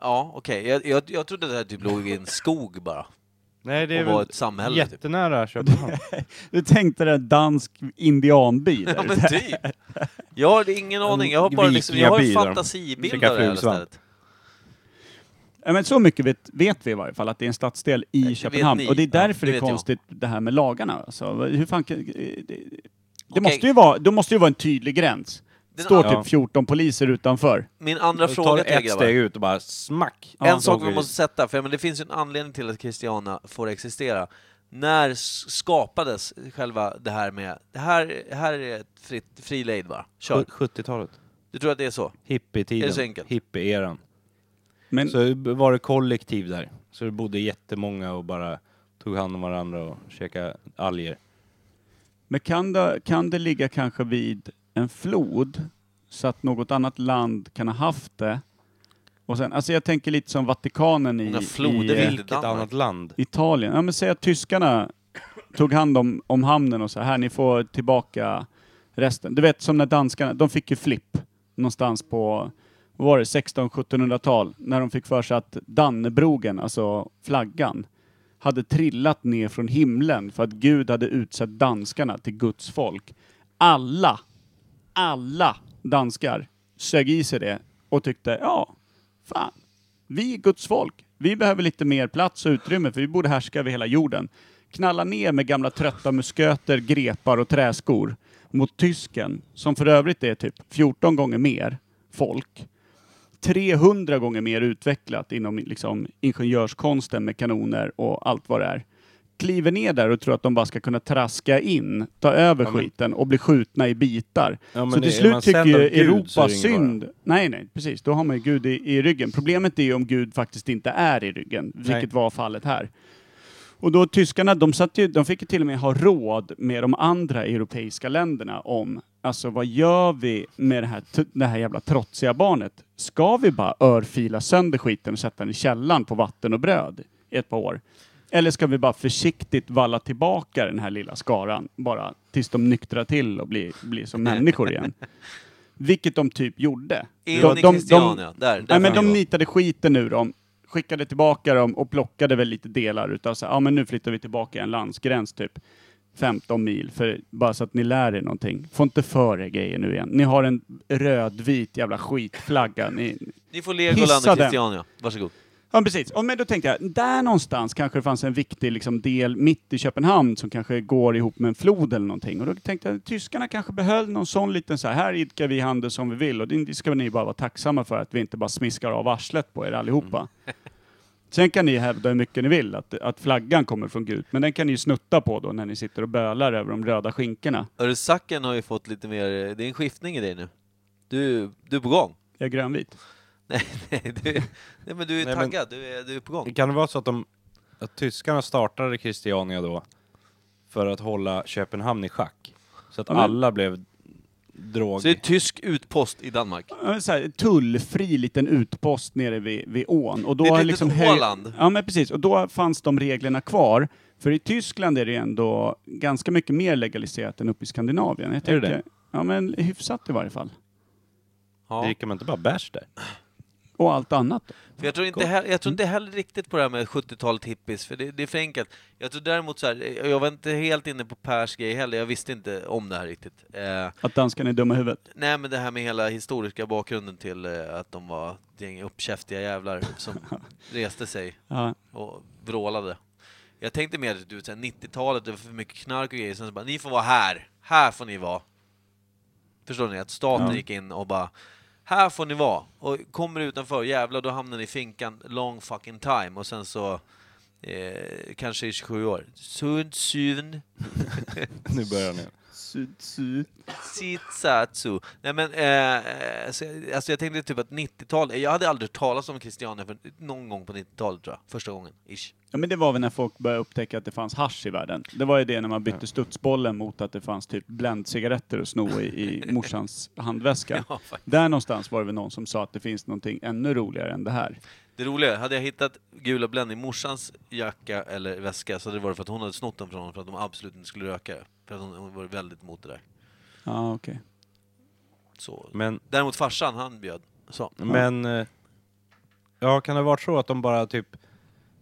Ja, okej. Jag, jag, jag trodde att det här typ låg i en skog bara.
Nej, det är
och var
väl
ett samhälle typ.
jättenära Köpenhamn.
Du tänkte dig en dansk indianby där.
Ja men typ! Jag har ingen aning, jag har bara liksom, jag har ju
vikingaby där de
fantasibilder
käkar
av det här
fulsvamp.
stället.
Ja, men så mycket vet, vet vi i varje fall, att det är en stadsdel i
vet
Köpenhamn.
ni.
Och det är
Ja,
därför
det
det är
vet jag.
konstigt det här med lagarna. Alltså, hur fan kan, det det
Okej.
måste ju vara, det måste ju vara en tydlig gräns.
Den
Står
an- Ja.
typ 14 poliser utanför.
Min andra
tar
fråga till er
ett
grabbar.
steg ut och bara smack.
En sak vi måste sätta, för men det finns ju en anledning till att Christiana får existera. När s- skapades själva det här med, det här, här är ett fritt, fri lejd va? Kör.
70-talet.
Du tror att det är så? Är det så
Hippietiden.
enkelt?
Hippie-eran.
Men,
Så var det kollektiv där. Så det bodde jättemånga och bara tog hand om varandra och käkade alger.
Men kan det, kan det ligga kanske vid en flod så att något annat land kan ha haft det? Och sen, alltså jag tänker lite som Vatikanen i,
Många floder
i eh,
vill-
Vilket annat land.
Italien. Ja, men säg att tyskarna tog hand om, om hamnen och så här, ni får tillbaka resten. Du vet som när danskarna, de fick ju flipp någonstans på, vad var det, 1600-1700-tal, när de fick för sig att Dannebrogen, alltså flaggan, hade trillat ner från himlen för att Gud hade utsett danskarna till Guds folk. Alla, alla danskar sög i sig det och tyckte, ja, fan, vi är Guds folk. Vi behöver lite mer plats och utrymme för vi borde härska över hela jorden. Knalla ner med gamla trötta musköter, grepar och träskor mot tysken, som för övrigt är typ 14 gånger mer folk. 300 gånger mer utvecklat inom liksom, ingenjörskonsten med kanoner och allt vad det är. Kliver ner där och tror att de bara ska kunna traska in, ta över
Ja, men-
skiten och bli skjutna i bitar.
Ja, men
så till
är man
slut tycker
sänd av
ju
Gud så är det
Europa
ingen fara.
synd. Nej, nej, precis. Då har man ju Gud i, i ryggen. Problemet är ju om Gud faktiskt inte är i ryggen, vilket var fallet här. Och då tyskarna, de, satt ju, de fick ju till och med ha råd med de andra europeiska länderna om, alltså vad gör vi med det här, t- det här jävla trotsiga barnet? Ska vi bara örfila sönder skiten och sätta den i källan på vatten och bröd i ett par år? Eller ska vi bara försiktigt valla tillbaka den här lilla skaran, bara tills de nyktrar till och blir, blir som människor igen? Vilket de typ gjorde.
In
De-
i
de- de-
Christiania. Där, där
Nej, men
får
de
ni gå.
nitade skiten ur dem, skickade tillbaka dem och plockade väl lite delar utav så här, ja men nu flyttar vi tillbaka en landsgräns typ 15 mil, för, bara så att ni lär er någonting. Få inte för er grejer nu igen. Ni har en rödvit jävla skitflagga. Ni,
Ni får Legoland
Hissa
och
den.
Christiania. Varsågod.
Ja, precis. Och, men då tänkte jag, där någonstans kanske det fanns en viktig liksom, del mitt i Köpenhamn som kanske går ihop med en flod eller någonting. Och då tänkte jag, tyskarna kanske behöll någon sån liten så här, här idkar vi handel som vi vill och det ska ni bara vara tacksamma för att vi inte bara smiskar av arslet på er allihopa. Sen kan ni hävda hur mycket ni vill att, att flaggan kommer från Gud, men den kan ni ju snutta på då när ni sitter och bölar över de röda skinkorna.
Örsacken har ju fått lite mer... Det är en skiftning i dig nu. Du, du är på gång.
Jag är grönvit.
Nej, nej, du, nej men du
Nej,
är
men-
taggad. Du, är, du är på gång.
Kan det vara så att, de, att tyskarna startade Christiania då för att hålla Köpenhamn i schack? Så att
Ja, men-
alla blev drog...
Så det är tysk utpost i Danmark.
Ja, men Så här, tullfri liten utpost nere vid, vid ån. Och då
Det är ett
har
litet
liksom hö-
Åland.
Ja, men precis. Och då fanns de reglerna kvar. För i Tyskland är det ju ändå ganska mycket mer legaliserat än uppe i Skandinavien. Jag
Är det
tänker,
det?
Ja, men hyfsat i varje fall.
Ja.
Dricker man inte bara bärs där?
Och allt annat. då.
För jag, tror inte heller, jag tror inte heller riktigt på det här med 70-talet hippies, för det, det är för enkelt. Jag tror däremot så här, eh, jag var inte helt inne på Pers grej heller, jag visste inte om det här riktigt. Eh,
Att danskarna är dumma i huvudet.
nej men det här med hela historiska bakgrunden till eh, att de var ett gäng uppkäftiga jävlar som reste sig
Ja.
och vrålade. Jag tänkte mer att du, så här, 90-talet, det var för mycket knark och grejer, sen så bara, ni får vara här, här får ni vara. Förstår ni? Att staten
Ja.
gick in och bara, här får ni vara. Och kommer du utanför, jävlar, då hamnar ni i finkan long fucking time. Och sen så, eh, kanske i 27 år. Sun Tsun
Nu börjar ni.
Syd, syd.
Tsitsatsu. Nej men, eh, alltså, jag- alltså jag tänkte typ att 90-talet, jag hade aldrig talat om Christiania för någon gång på 90-talet tror jag. Första gången, ish.
Ja, men det var väl när folk började upptäcka att det fanns hasch i världen. Det var ju det när man bytte studsbollen mot att det fanns typ bländcigaretter att sno i, i morsans handväska.
Ja, faktiskt.
Där någonstans var det väl någon som sa att det finns någonting ännu roligare än det här.
Det roliga, är, hade jag hittat gula Blend i morsans jacka eller väska så hade det varit för att hon hade snott dem från honom för att de absolut inte skulle röka det. För att hon, hon var väldigt emot det där.
Ja, okej.
Så.
Men,
Däremot farsan, han bjöd. Så.
men... eh, Ja, kan det ha varit så att de bara typ...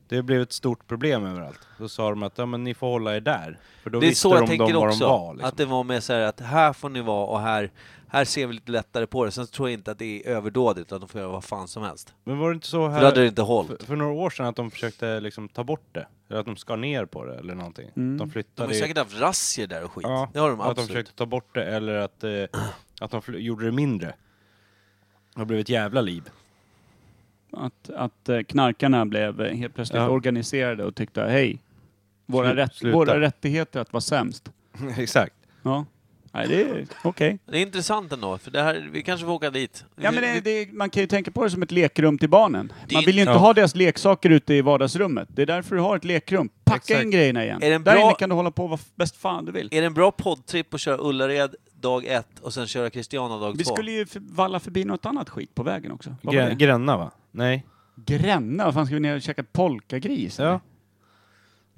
Det blev ett stort problem överallt. Då sa de att ja, men ni får hålla er där. För då
Det är
visste
så jag
de, de
tänker
var
också.
de var. Liksom.
Att det var med så här att här får ni vara och här, här ser vi lite lättare på det. Sen tror jag inte att det är överdådigt att de får göra vad fan som helst.
Men var det inte så
För då hade det
här
inte hållit.
för, för några år sedan att de försökte liksom ta bort det? Eller att de skar ner på det eller någonting? De
De har
flyttade
ju
ju-
säkert haft razzior där och skit.
Ja,
det har de
att de
absolut.
försökte ta bort det eller att, eh, att de fl- gjorde det mindre. Det har blivit ett jävla liv.
Att, att eh, knarkarna blev eh, helt plötsligt
Ja.
organiserade och tyckte hej, våra,
Slu-
rätt,
sluta."
våra rättigheter att vara sämst.
Exakt.
Ja. Nej, det är okej.
Det är intressant ändå, för det här, vi kanske får åka dit.
Ja,
Vi-
men det,
vi-
det, är- man kan ju tänka på det som ett lekrum till barnen.
Det är
Man vill ju inte
inte-
ha deras leksaker ute i vardagsrummet. Det är därför du har ett lekrum. Packa
Exakt.
in grejerna igen.
Är det en
Där
bra-
inne kan du hålla på vad f- bäst fan du vill.
Är det en bra poddtripp att köra Ullared dag ett och sen köra Christiana dag
Vi
två?
skulle ju för- valla förbi något annat skit på vägen också. Vad var
Gr-
det?
Gränna va? Nej?
Gränna? Vad fan, ska vi ner och käka polkagris? eller?
Ja.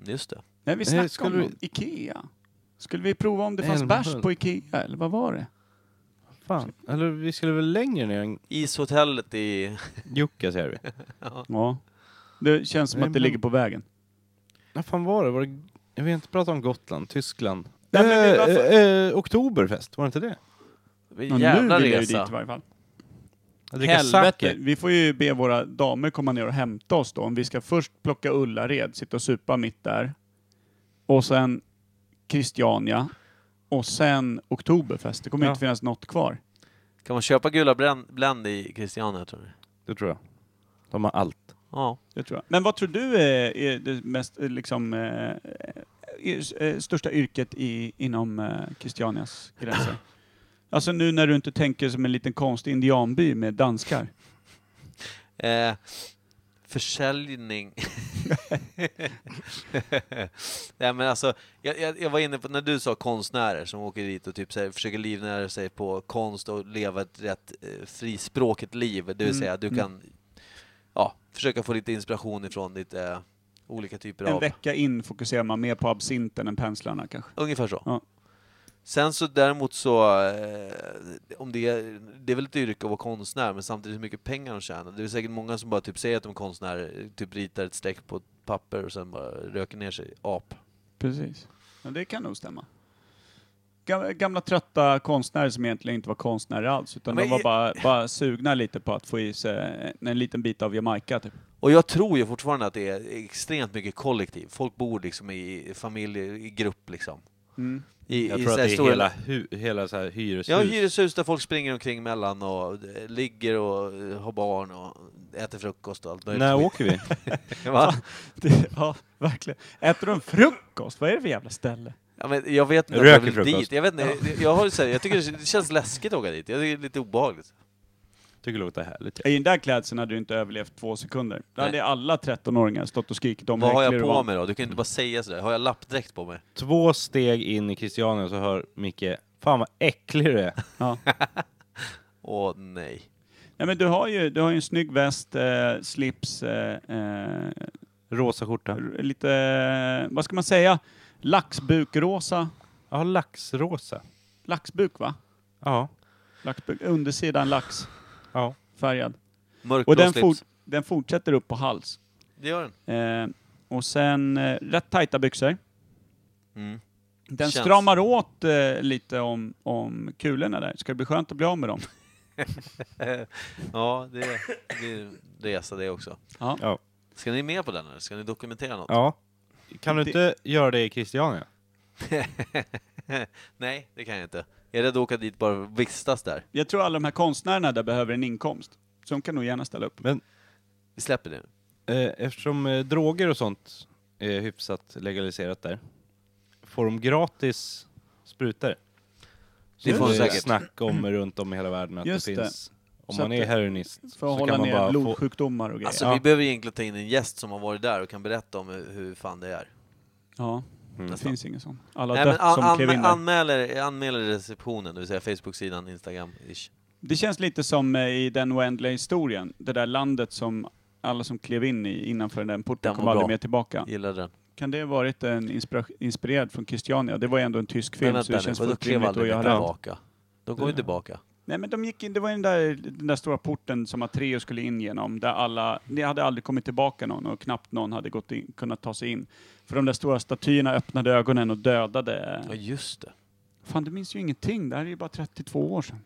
Just det.
Nej, vi
Nej,
snackade
skulle
om
vi-
något. Ikea. Skulle vi prova om det fanns
Älmhult.
bärs på Ikea, eller vad var det?
Fan. Eller vi skulle väl längre ner än
Ishotellet i...
Jukkasjärvi?
Ja. Det känns som
Nej,
att det
men-
ligger på vägen.
Vad fan var det? var det? Jag vill inte prata om Gotland, Tyskland.
Nej, men det-
Eh,
varför-
eh, eh, oktoberfest, var det inte det?
Ja,
En
nu
jävla
vill jag ju dit i
resa.
varje fall.
Att dricka
Helvete,
sake.
vi får ju be våra damer komma ner och hämta oss då. Om vi ska först plocka Ullared, sitta och supa mitt där. Och sen Christiania. Och sen Oktoberfest. Det kommer
Ja.
inte finnas något kvar.
Kan man köpa gula Bränd- Blend i Christiana, tror du?
Det tror jag. De har allt.
Ja.
Det tror jag. Men vad tror du är, är det mest eh, liksom, eh, är- eh, största yrket i, inom eh, Christianias gränser? Alltså nu när du inte tänker som en liten konstig indianby med danskar.
Eh, försäljning. Nej men alltså, jag, jag, jag var inne på, när du sa konstnärer som åker dit och typ så här, försöker livnära sig på konst och leva ett rätt eh, frispråkigt liv, det vill
Mm,
säga att du
mm.
kan ja, försöka få lite inspiration ifrån lite eh, olika typer
En
av...
vecka in fokuserar man mer på absinten än penslarna kanske.
Ungefär så.
Ja.
Sen så däremot så, eh, om det, är- det är väl ett yrke att vara konstnär, men samtidigt hur mycket pengar de tjänar. Det är säkert många som bara typ säger att de är konstnärer, typ ritar ett streck på ett papper och sen bara röker ner sig. Ap.
Precis. Ja, det kan nog stämma. Gamla, gamla trötta konstnärer som egentligen inte var konstnärer alls, utan
Men
de var
i-
bara, bara sugna lite på att få i sig en, en liten bit av Jamaica typ.
Och jag tror ju fortfarande att det är extremt mycket kollektiv. Folk bor liksom i familj, i grupp liksom. I,
Jag
i
tror att
så här
det är
stora-
hela, hu- hela så här hyreshus.
Ja, hyreshus där folk springer omkring mellan och eh, ligger och eh, har barn och äter frukost och allt möjligt.
När åker vi?
Va?
Det, ja, verkligen. Äter de frukost? Vad är det för jävla ställe?
Ja, men jag vet inte om
Röker
jag vill
frukost.
dit. Jag, vet inte, jag, jag, har, så här, jag tycker det känns läskigt att åka dit. Jag tycker det är lite obehagligt.
Tycker det låter härligt.
I den där klädseln hade du inte överlevt två sekunder. Då hade alla 13-åringar stått och skrikit om
Vad har jag
äcklig du
på
var.
mig då? Du kan ju inte bara säga sådär. Har jag lappdräkt på mig?
Två steg in i Christiania så hör Micke, fan vad äcklig du är.
Ja.
Åh nej.
Nej, men du, har ju, du har ju en snygg väst, eh, slips, eh, eh,
Rosa skjorta.
r- lite, eh, vad ska man säga, laxbukrosa.
Ja, laxrosa.
Laxbuk va?
Ja.
Laxbuk, undersidan lax,
Ja.
färgad.
Mörkblå
Och den,
slips.
for, den fortsätter upp på hals.
Det gör den.
Eh, och sen eh, rätt tajta byxor.
Mm.
Den
Känns.
stramar åt eh, lite om, om kulorna där. Ska det bli skönt att bli av med dem?
Ja, det, det är en resa det också.
Ja.
Ja.
Ska ni med på den eller? Ska ni dokumentera något?
ja. Kan du inte göra det i Christiania?
nej, det kan jag inte. Jag är rädd att åka dit bara för att vistas där.
Jag tror alla de här konstnärerna där behöver en inkomst. Så de kan nog gärna ställa upp.
Men
Vi släpper det.
eh, eftersom eh, droger och sånt är hyfsat legaliserat där, får de gratis sprutor? Så
Det får de
är
säkert.
snack om runt om i hela världen att
Just
det
det.
finns. Om
Så
man
att
är
det-
heroinist
För att
så
hålla
kan man
ner
bara få...
blodsjukdomar och grejer.
Alltså
Ja.
vi behöver egentligen ta in en gäst som har varit där och kan berätta om hur, hur fan det är.
ja,
Mm.
det
Nästan.
finns ingen sån. Alla
Nej, men
dött
an,
som klev in
an,
där.
anmäl, er, anmäl er i receptionen, det vill säga Facebook-sidan, Instagram-ish.
Det känns lite som eh, i den oändliga historien. Det där landet som alla som klev in i innanför den porten
Den
kom
var
aldrig
bra.
mer tillbaka.
Gillar den.
Kan det ha varit en inspira- inspirerad från Christiania? Det var ju ändå en tysk film
Men
så det
vänta nu,
känns
vadå
fullt
klev
rimligt att
aldrig
göra det.
tillbaka? De går
Det-
ju tillbaka.
Nej men de gick in, det var ju den där, den där stora porten som Atreo skulle in genom, där alla, det hade aldrig kommit tillbaka någon och knappt någon hade gått in, kunnat ta sig in. För de där stora statyerna öppnade ögonen och dödade. eh,
Ja, just det.
Fan, du minns ju ingenting. Det här är ju bara 32 år sedan.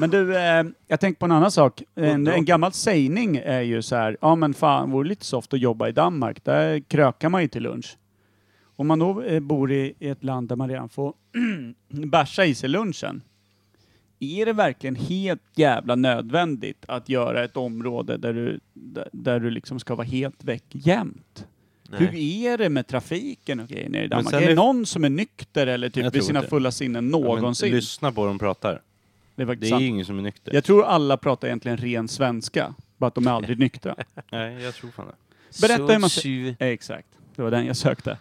Men du, eh, jag tänkte på en annan sak. En, en gammal sägning är ju så här, ja men fan, vore det lite soft att jobba i Danmark. Där krökar man ju till lunch. Om man då eh, bor i, i ett land där man redan får bärsa i sig lunchen. Är det verkligen helt jävla nödvändigt att göra ett område där du, där, där du liksom ska vara helt väck jämt? Hur
Nej.
är det med trafiken och grejer nere i Danmark?
sen
Är det
är-
någon som är nykter eller
Jag
typ
tror
vid sina
inte.
fulla sinnen
Ja, men
någonsin?
lyssna på hur de pratar.
det är
Det
faktiskt
är ju
sant.
ingen som är nykter.
Jag tror alla pratar egentligen ren svenska, bara att de är aldrig nyktra.
Nej, jag tror fan det.
Berätta hur man-
Sundsy-
Exakt, det var den jag sökte.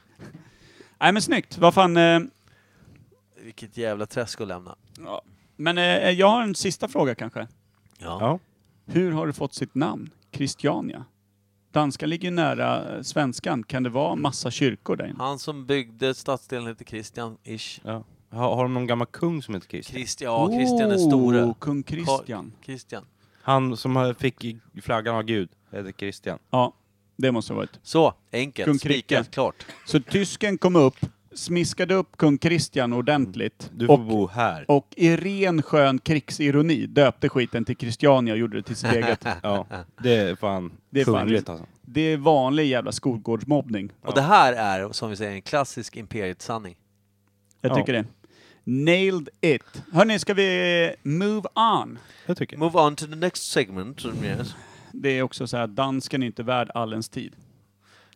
Nej men snyggt, vad fan. Eh,
Vilket jävla träsk att lämna.
men eh, jag har en sista fråga kanske.
Ja.
Ja.
Hur har du fått sitt namn? Christiania? Danska ligger ju nära eh, svenskan, kan det vara massa kyrkor där inne?
Han som byggde stadsdelen heter Christian-ish.
ja. Har, har de någon gammal kung som heter Christian?
Christian, ja, Christian den store.
Oh, Kung Christian.
Karl- Christian.
Han som har- fick i- flaggan av Gud heter Christian.
Ja, det måste ha varit.
Så,
Kung
enkelt,
Kricke.
spikat, klart.
Så tysken kom upp, smiskade upp kung Christian ordentligt
Mm. Du får
och,
bo här.
och i ren skön krigsironi döpte skiten till Christiania och gjorde det till sitt eget.
Ja, det är fan
Det är fan-
kungligt alltså.
Det är vanlig jävla skolgårdsmobbning.
Och det här är, som vi säger, en klassisk Imperiet-sanning.
Jag
Ja.
tycker det. Nailed it. Hörni, ska vi move on?
Det tycker jag.
Move on to the next segment. Yes.
Det är också så här, dansken är inte värd allens tid.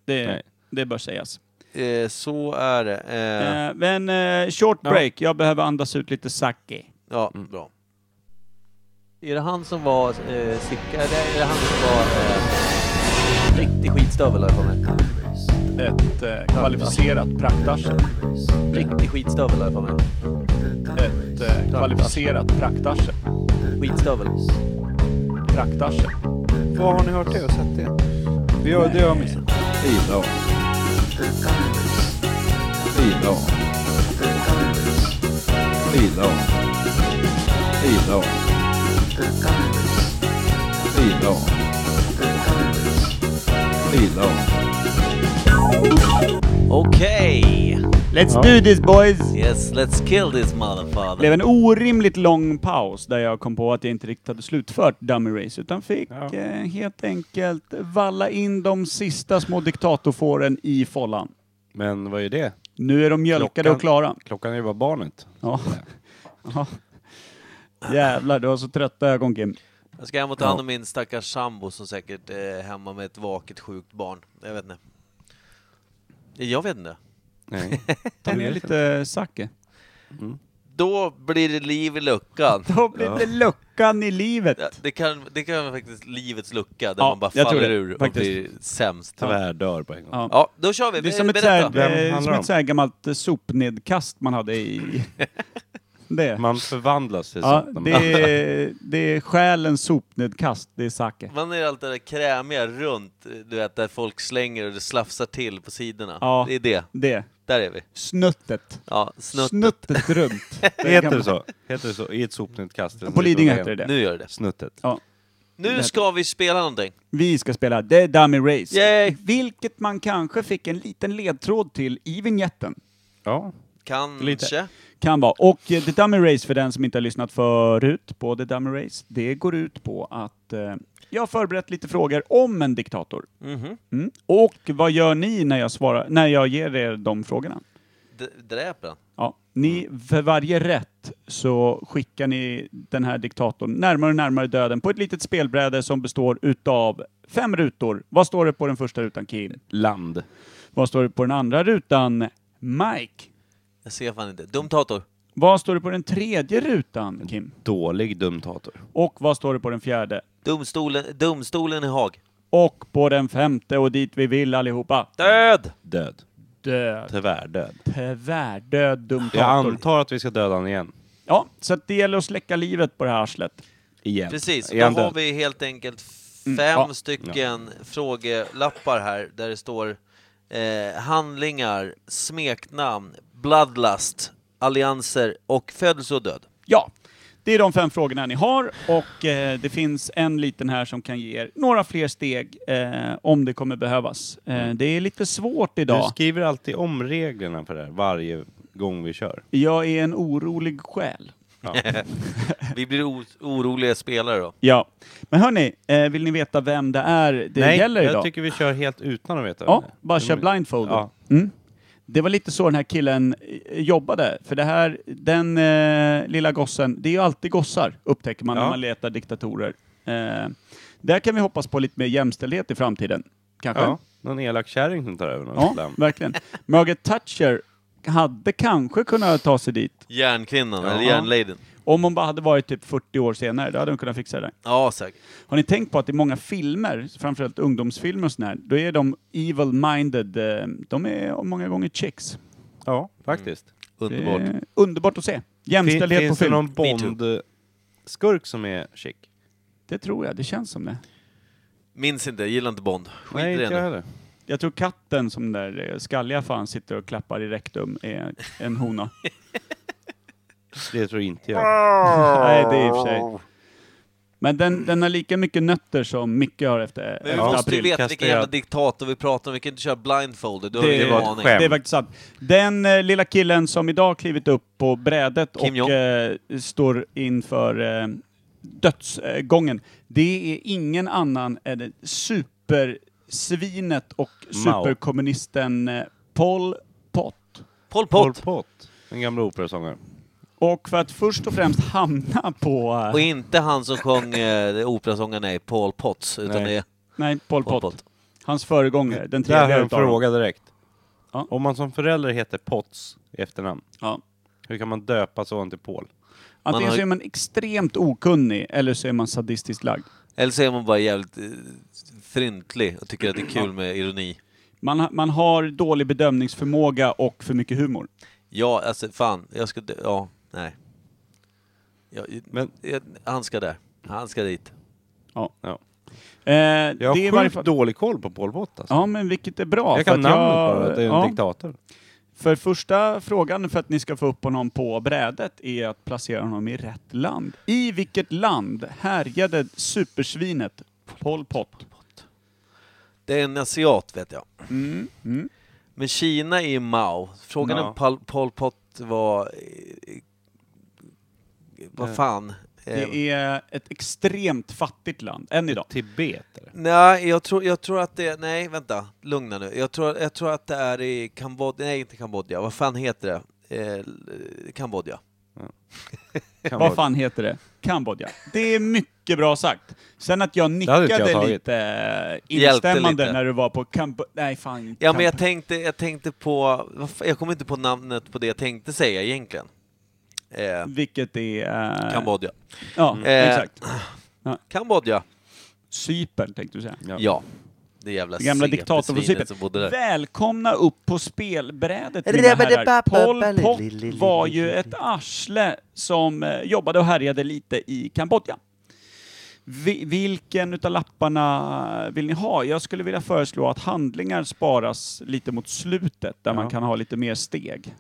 Nej.
Det, det bör sägas.
Eh, så är det. Eh,
Eh, men eh, short
Ja.
break, jag behöver andas ut lite sake.
Ja, bra.
Mm. Är det han som var eh, Sicka? Eller är det han som var... Eh, riktig skitstövel har jag för mig.
Ett eh, kvalificerat praktarsel.
Riktig skitstövel har jag för mig.
Ett eh, kvalificerat praktarsel.
Skitstövel.
Praktarsel.
Vad har ni hört det och sett det? Vi har, det har jag missat.
Idag. Idag. Idag. Idag. Idag. Idag.
Okej!
Let's do this boys!
Yes, let's kill this
Det blev
motherfucker.
en orimligt lång paus där jag kom på att jag inte riktigt hade slutfört Dummy Race utan fick
Ja.
eh, helt enkelt valla in de sista små diktatorfåren i follan.
Men vad är det?
Nu är de mjölkade
Klockan.
och klara.
Klockan är ju bara barnet.
Ja. Ja. Jävlar, du har så trötta ögon Kim.
Jag ska hem och ta hand om min stackars sambo som säkert eh, är hemma med ett vaket sjukt barn. Jag vet inte. Jag vet inte.
Nej.
Ta med lite sake.
Då blir det liv i luckan.
Då blir det luckan i livet.
Ja, Det kan, det kan vara faktiskt livets lucka, där
Ja,
man bara
jag tror
faller
det,
ur
faktiskt.
och blir sämst. Ja.
Tyvärr dör på en gång.
Ja.
då kör vi!
Det är som ett, så
Berätta!
Vem
här, eh,
handlar
som
det
ett
om?
så här gammalt eh, sopnedkast man hade i... Det.
Man förvandlas till
Ja,
sånt när man-
det, är, det är själens sopnedkast, det är sake.
Man är allt det där krämiga runt, du vet, där folk slänger och det slafsar till på sidorna.
Ja.
Det är det.
Det.
Där är vi.
Snuttet.
Ja, snutt.
Snuttet runt.
Heter det så? Heter det så? I ett sopnedkast?
På Lidingö heter det det.
Nu gör det.
Snuttet.
Nu ska vi spela någonting.
Vi ska spela The Dummy Race.
Yay!
Vilket man kanske fick en liten ledtråd till i vignetten.
Ja.
Kanske.
Lite.
Kan vara. Och eh, The Dummy Race, för den som inte har lyssnat förut på The Dummy Race, det går ut på att eh, jag har förberett lite frågor om en diktator.
Mhm.
Mm. Och vad gör ni när jag, svarar, när jag ger er de frågorna?
D- Dräper den.
Ja, ni, för varje rätt så skickar ni den här diktatorn närmare och närmare döden på ett litet spelbräde som består utav fem rutor. Vad står det på den första rutan, Kim?
Land.
Vad står det på den andra rutan, Mike?
Jag ser fan inte. Dumtator.
Vad står det på den tredje rutan, Kim?
Dålig dumtator.
Och vad står det på den fjärde?
Domstolen, domstolen i Haag.
Och på den femte och dit vi vill allihopa.
Död!
Död.
Död.
Tyvärr död. Jag
Tvärdöd dumtator.
antar att vi ska döda honom igen.
Ja, så att det gäller att släcka livet på det här arslet.
Igen.
Precis, då
Är han
har
död? Mm.
vi helt enkelt fem
ja.
stycken frågelappar här där det står eh, handlingar, smeknamn, bloodlust, allianser och födelse och död.
Ja, det är de fem frågorna ni har och eh, det finns en liten här som kan ge er några fler steg eh, om det kommer behövas. Eh, det är lite svårt
Du
idag.
skriver alltid om reglerna för det här varje gång vi kör.
Jag är en orolig själ.
Vi blir o- oroliga spelare då.
Ja, men hörni, eh, vill ni veta vem det är det gäller
jag
idag?
tycker vi kör helt utan att veta.
Ja,
vem det är.
bara
Det
kör
var-
blindfold.
Ja.
Mm. Det var lite så den här killen eh, jobbade, för det här, den eh, lilla gossen, det är ju alltid gossar, upptäcker man när
Ja.
man letar diktatorer. Eh, där kan vi hoppas på lite mer jämställdhet i framtiden, kanske.
ja. Någon elak kärring som tar över
Ja,
något land.
verkligen. Margaret Thatcher hade kanske kunnat ta sig dit,
Järnkvinnan,
Ja.
eller järnladyn.
om hon bara hade varit typ 40 år senare, då hade hon kunnat fixa det.
Ja, säkert.
Har ni tänkt på att i många filmer, framförallt ungdomsfilmer och sådär, då är de evil-minded, eh, de är många gånger chicks.
Ja, faktiskt.
Underbart.
Eh, underbart att se. Jämställdhet
Fin-
på
Finns det
film.
någon
Me too.
Bond-skurk som är chic?
Det tror jag, det känns som det.
Minns inte, gillar inte Bond. Skit
Nej,
i
inte
det
jag
nu.
heller.
Jag tror katten som där eh, skalliga fan sitter och klappar i rektum är en hona.
Det tror inte jag.
Nej, det är i och för sig. Men den, den har lika mycket nötter som Micke har efter,
Men vi
efter
måste ju
april.
veta
kastar
vilken jävla
jag-
diktator vi pratar om, vi kan inte köra blindfolded, då har vi
Det,
Det
ingen
var ett
aning.
skämt.
det är faktiskt sant. Den eh, lilla killen som idag klivit upp på brädet
Kim
och
Jong.
eh, står inför eh, dödsgången, det är ingen annan än det supersvinet och
Mao.
superkommunisten eh, Pol Pot.
Pol
Pol
Pot!
Pot. Den gamla operasångaren.
Och för att först och främst hamna på... eh,
Och inte han som sjöng eh, operasången, nej, Paul Potts, utan
Nej.
det är
nej, Pol
Pol
Pot.
Pot.
Hans
Eh,
föregångare, den
Där har
tredje
jag en
utav dem.
fråga direkt.
Ja.
Om man som förälder heter Potts i efternamn,
Ja.
hur kan man döpa sonen till Paul?
Antingen
har-
så är man extremt okunnig eller så är man sadistiskt lagd.
Eller så är man bara jävligt eh, fryntlig och tycker att det är kul med ironi.
Man, ha- man har dålig bedömningsförmåga och för mycket humor.
Ja, alltså fan, jag ska... dö- Ja, nej. Ja, i-
Men-
jag, han ska där. Han ska dit.
Eh, det
Jag har
är i varje
sjukt
fall...
dålig koll på Pol Pot alltså.
Ja, men vilket är bra.
Jag
för
kan
att
namnet
jag-
bara, att det är en
ja.
diktator.
För första frågan för att ni ska få upp honom på brädet är att placera honom i rätt land. I vilket land härjade supersvinet Pol Pot?
Det är en asiat, vet jag.
Mm. Mm.
Men Kina är ju Mao. Frågan
Ja.
om Pol, Pol Pot var... eh, eh, Vad
Eh,
fan? Eh,
Det är ett extremt fattigt land, än idag.
Tibet eller?
Nej, jag tror, jag tror att det... Nej, vänta. Lugna nu. Jag tror, jag tror att det är i Kambodja. Nej, inte Kambodja. Vad fan heter det? Eh, l- Kambodja.
Kan
Vad
vara.
fan heter det? Kambodja. Det är mycket bra sagt. Sen att jag
hade inte jag
nickade
tagit.
lite eh,
Hjälpte
instämmande
lite.
när du var på Kambodja. Nej, fan.
Ja, men jag
Kamp-
tänkte, jag tänkte på... vad fan, Jag kommer inte på namnet på det jag tänkte säga egentligen. Eh,
Vilket är... eh,
Kambodja.
Ja,
Eh,
exakt.
Kambodja.
Cypern tänkte du säga.
Ja.
Ja. Det jävla
Den gamla diktatorn från Cypern.
CP-svinet som bodde där.
Välkomna upp på spelbrädet mina herrar. Pol Pot var ju ett arsle som eh, jobbade och härjade lite i Kambodja. Vi, vilken utav lapparna vill ni ha? Jag skulle vilja föreslå att handlingar sparas lite mot slutet, där man
Ja.
kan ha lite mer steg.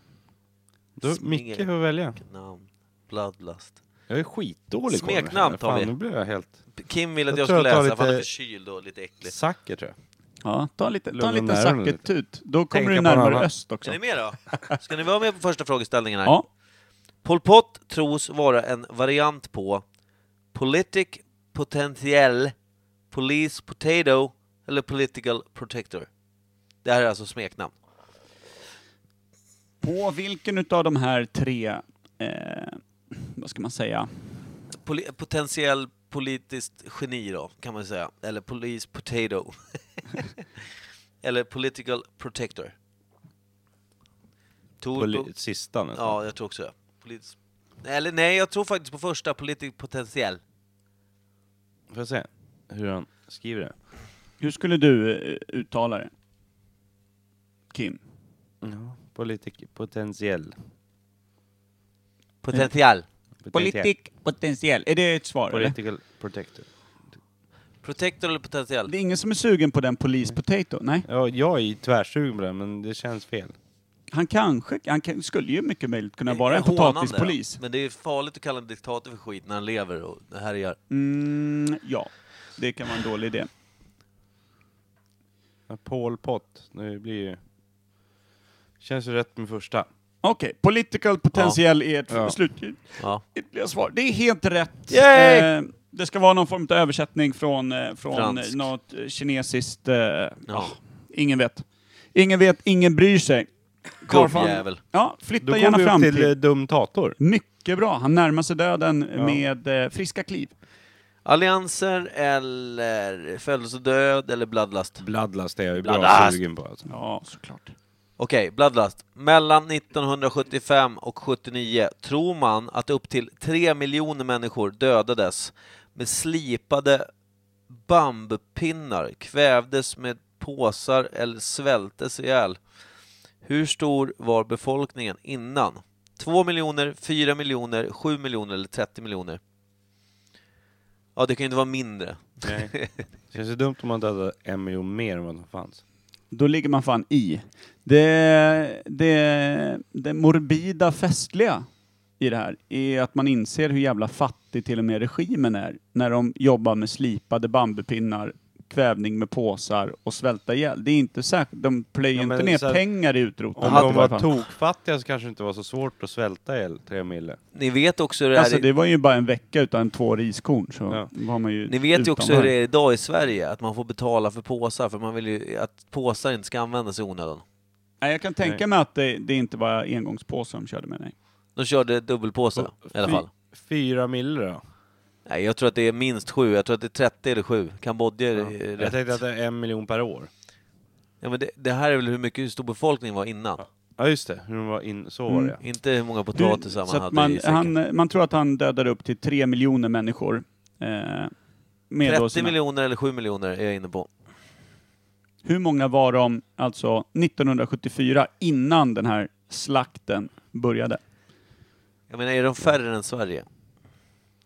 Då, Micke får välja.
Namn. Bloodlust.
Jag är skitdålig på det här.
Smeknamn tar
Fan,
vi.
Nu blev jag helt...
Kim ville att jag,
Jag
skulle
tror jag tar
läsa, för han är
lite-
förkyld och lite äcklig.
Sacker tror jag.
Ja, ta lite, ta en
Lugna
liten
ner honom lite.
sacketut. Då kommer
Tänka
du
på någon
närmare
annan.
öst också.
Är ni med då? Ska ni vara med på första frågeställningen här?
Ja,
Pol Pot tros vara en variant på Politic Potential Police Potato eller Political Protector. Det här är alltså smeknamn.
på vilken utav de här tre, eh, vad ska man säga,
Poli- potentiell politiskt geni då, kan man säga. Eller Police Potato. eller Political Protector. Tor-
Poli- Sista nästan.
Ja, jag tror också det. Politisk... Eller nej, jag tror faktiskt på första, Politic Potential.
Får jag se hur han skriver det?
hur skulle du eh, uttala det? Kim?
Ja. Politik, potentiell.
Potential.
Politik, potentiell. Är det ett svar eller?
Political protector.
Protector eller potential?
Det är ingen som är sugen på den polis potato? Nej.
Ja, jag är tvärsugen på det, men det känns fel.
Han kanske, han kan, skulle ju mycket möjligt kunna vara en
Det är hånande,
potatispolis.
ja. Men det är farligt att kalla en diktator för skit när han lever och härjar.
Mm, ja, det kan vara en dålig idé.
Ja, Paul Pot. Nu blir ju... Känns ju rätt med första.
Okej, political potentiell är ett
Ja.
slutgiltiga
Ja.
svar. Det är helt rätt. Eh,
Yay!
det ska vara någon form av översättning från, eh, från eh,
Fransk.
något eh, kinesiskt... Eh,
Ja.
ah, ingen vet. Ingen vet, ingen bryr sig. Karlfan-
Gubbjävel.
Ja,
Då
flytta
går
gärna
vi
fram
upp till,
till...
eh, Dumtator.
Mycket bra. Han närmar sig döden
Ja.
med eh, friska kliv.
Allianser eller födelse och död eller bloodlust?
Bloodlust är jag ju bra
Bloodlust.
sugen på. Alltså.
Ja, såklart.
Okej, bloodlust. Mellan 1975 och 79 tror man att upp till 3 miljoner människor dödades med slipade bambupinnar, kvävdes med påsar eller svältes ihjäl. Hur stor var befolkningen innan? 2 miljoner, 4 miljoner, 7 miljoner eller 30 miljoner? Ja, det kan ju inte vara mindre.
Det känns ju dumt om man dödade en miljon mer än vad som fanns.
Då ligger man fan i. Det, det, det morbida festliga i det här är att man inser hur jävla fattig till och med regimen är när de jobbar med slipade bambupinnar, kvävning med påsar och svälta ihjäl. Det är inte särskilt, de plöjer
Ja,
inte
men
ner
så här-
pengar i Alltså, utrotandet.
Om
i
de
varje
var
fall.
tokfattiga så kanske det inte var så svårt att svälta ihjäl tre mille.
Ni vet också hur det är
Alltså
i-
det var ju bara en vecka utan två riskorn så
Ja.
var man ju
Ni vet ju
utan
också hur
varje.
det är idag i Sverige, att man får betala för påsar, för man vill ju att påsar inte ska användas i onödan.
Nej, jag kan tänka
Nej.
mig att det, det inte var engångspåsar de körde med, nej.
De körde dubbelpåse i alla
Fy-
fall.
Fyra mille då?
Nej, jag tror att det är minst sju. Jag tror att det är 30 eller sju. Kambodja är rätt.
Jag tänkte att det är en miljon per år.
Ja, men det, det här är väl hur mycket hur stor befolkningen var innan?
Ja just det, hur de var in, så var
Mm.
det
Inte hur många
Du,
potatisar man
så
hade
att man,
i säcken.
han, man tror att han dödade upp till tre miljoner människor. Eh, med då
30
sina,
miljoner eller 7 miljoner är jag inne på.
hur många var de alltså 1974 innan den här slakten började?
Jag menar, är de färre än Sverige?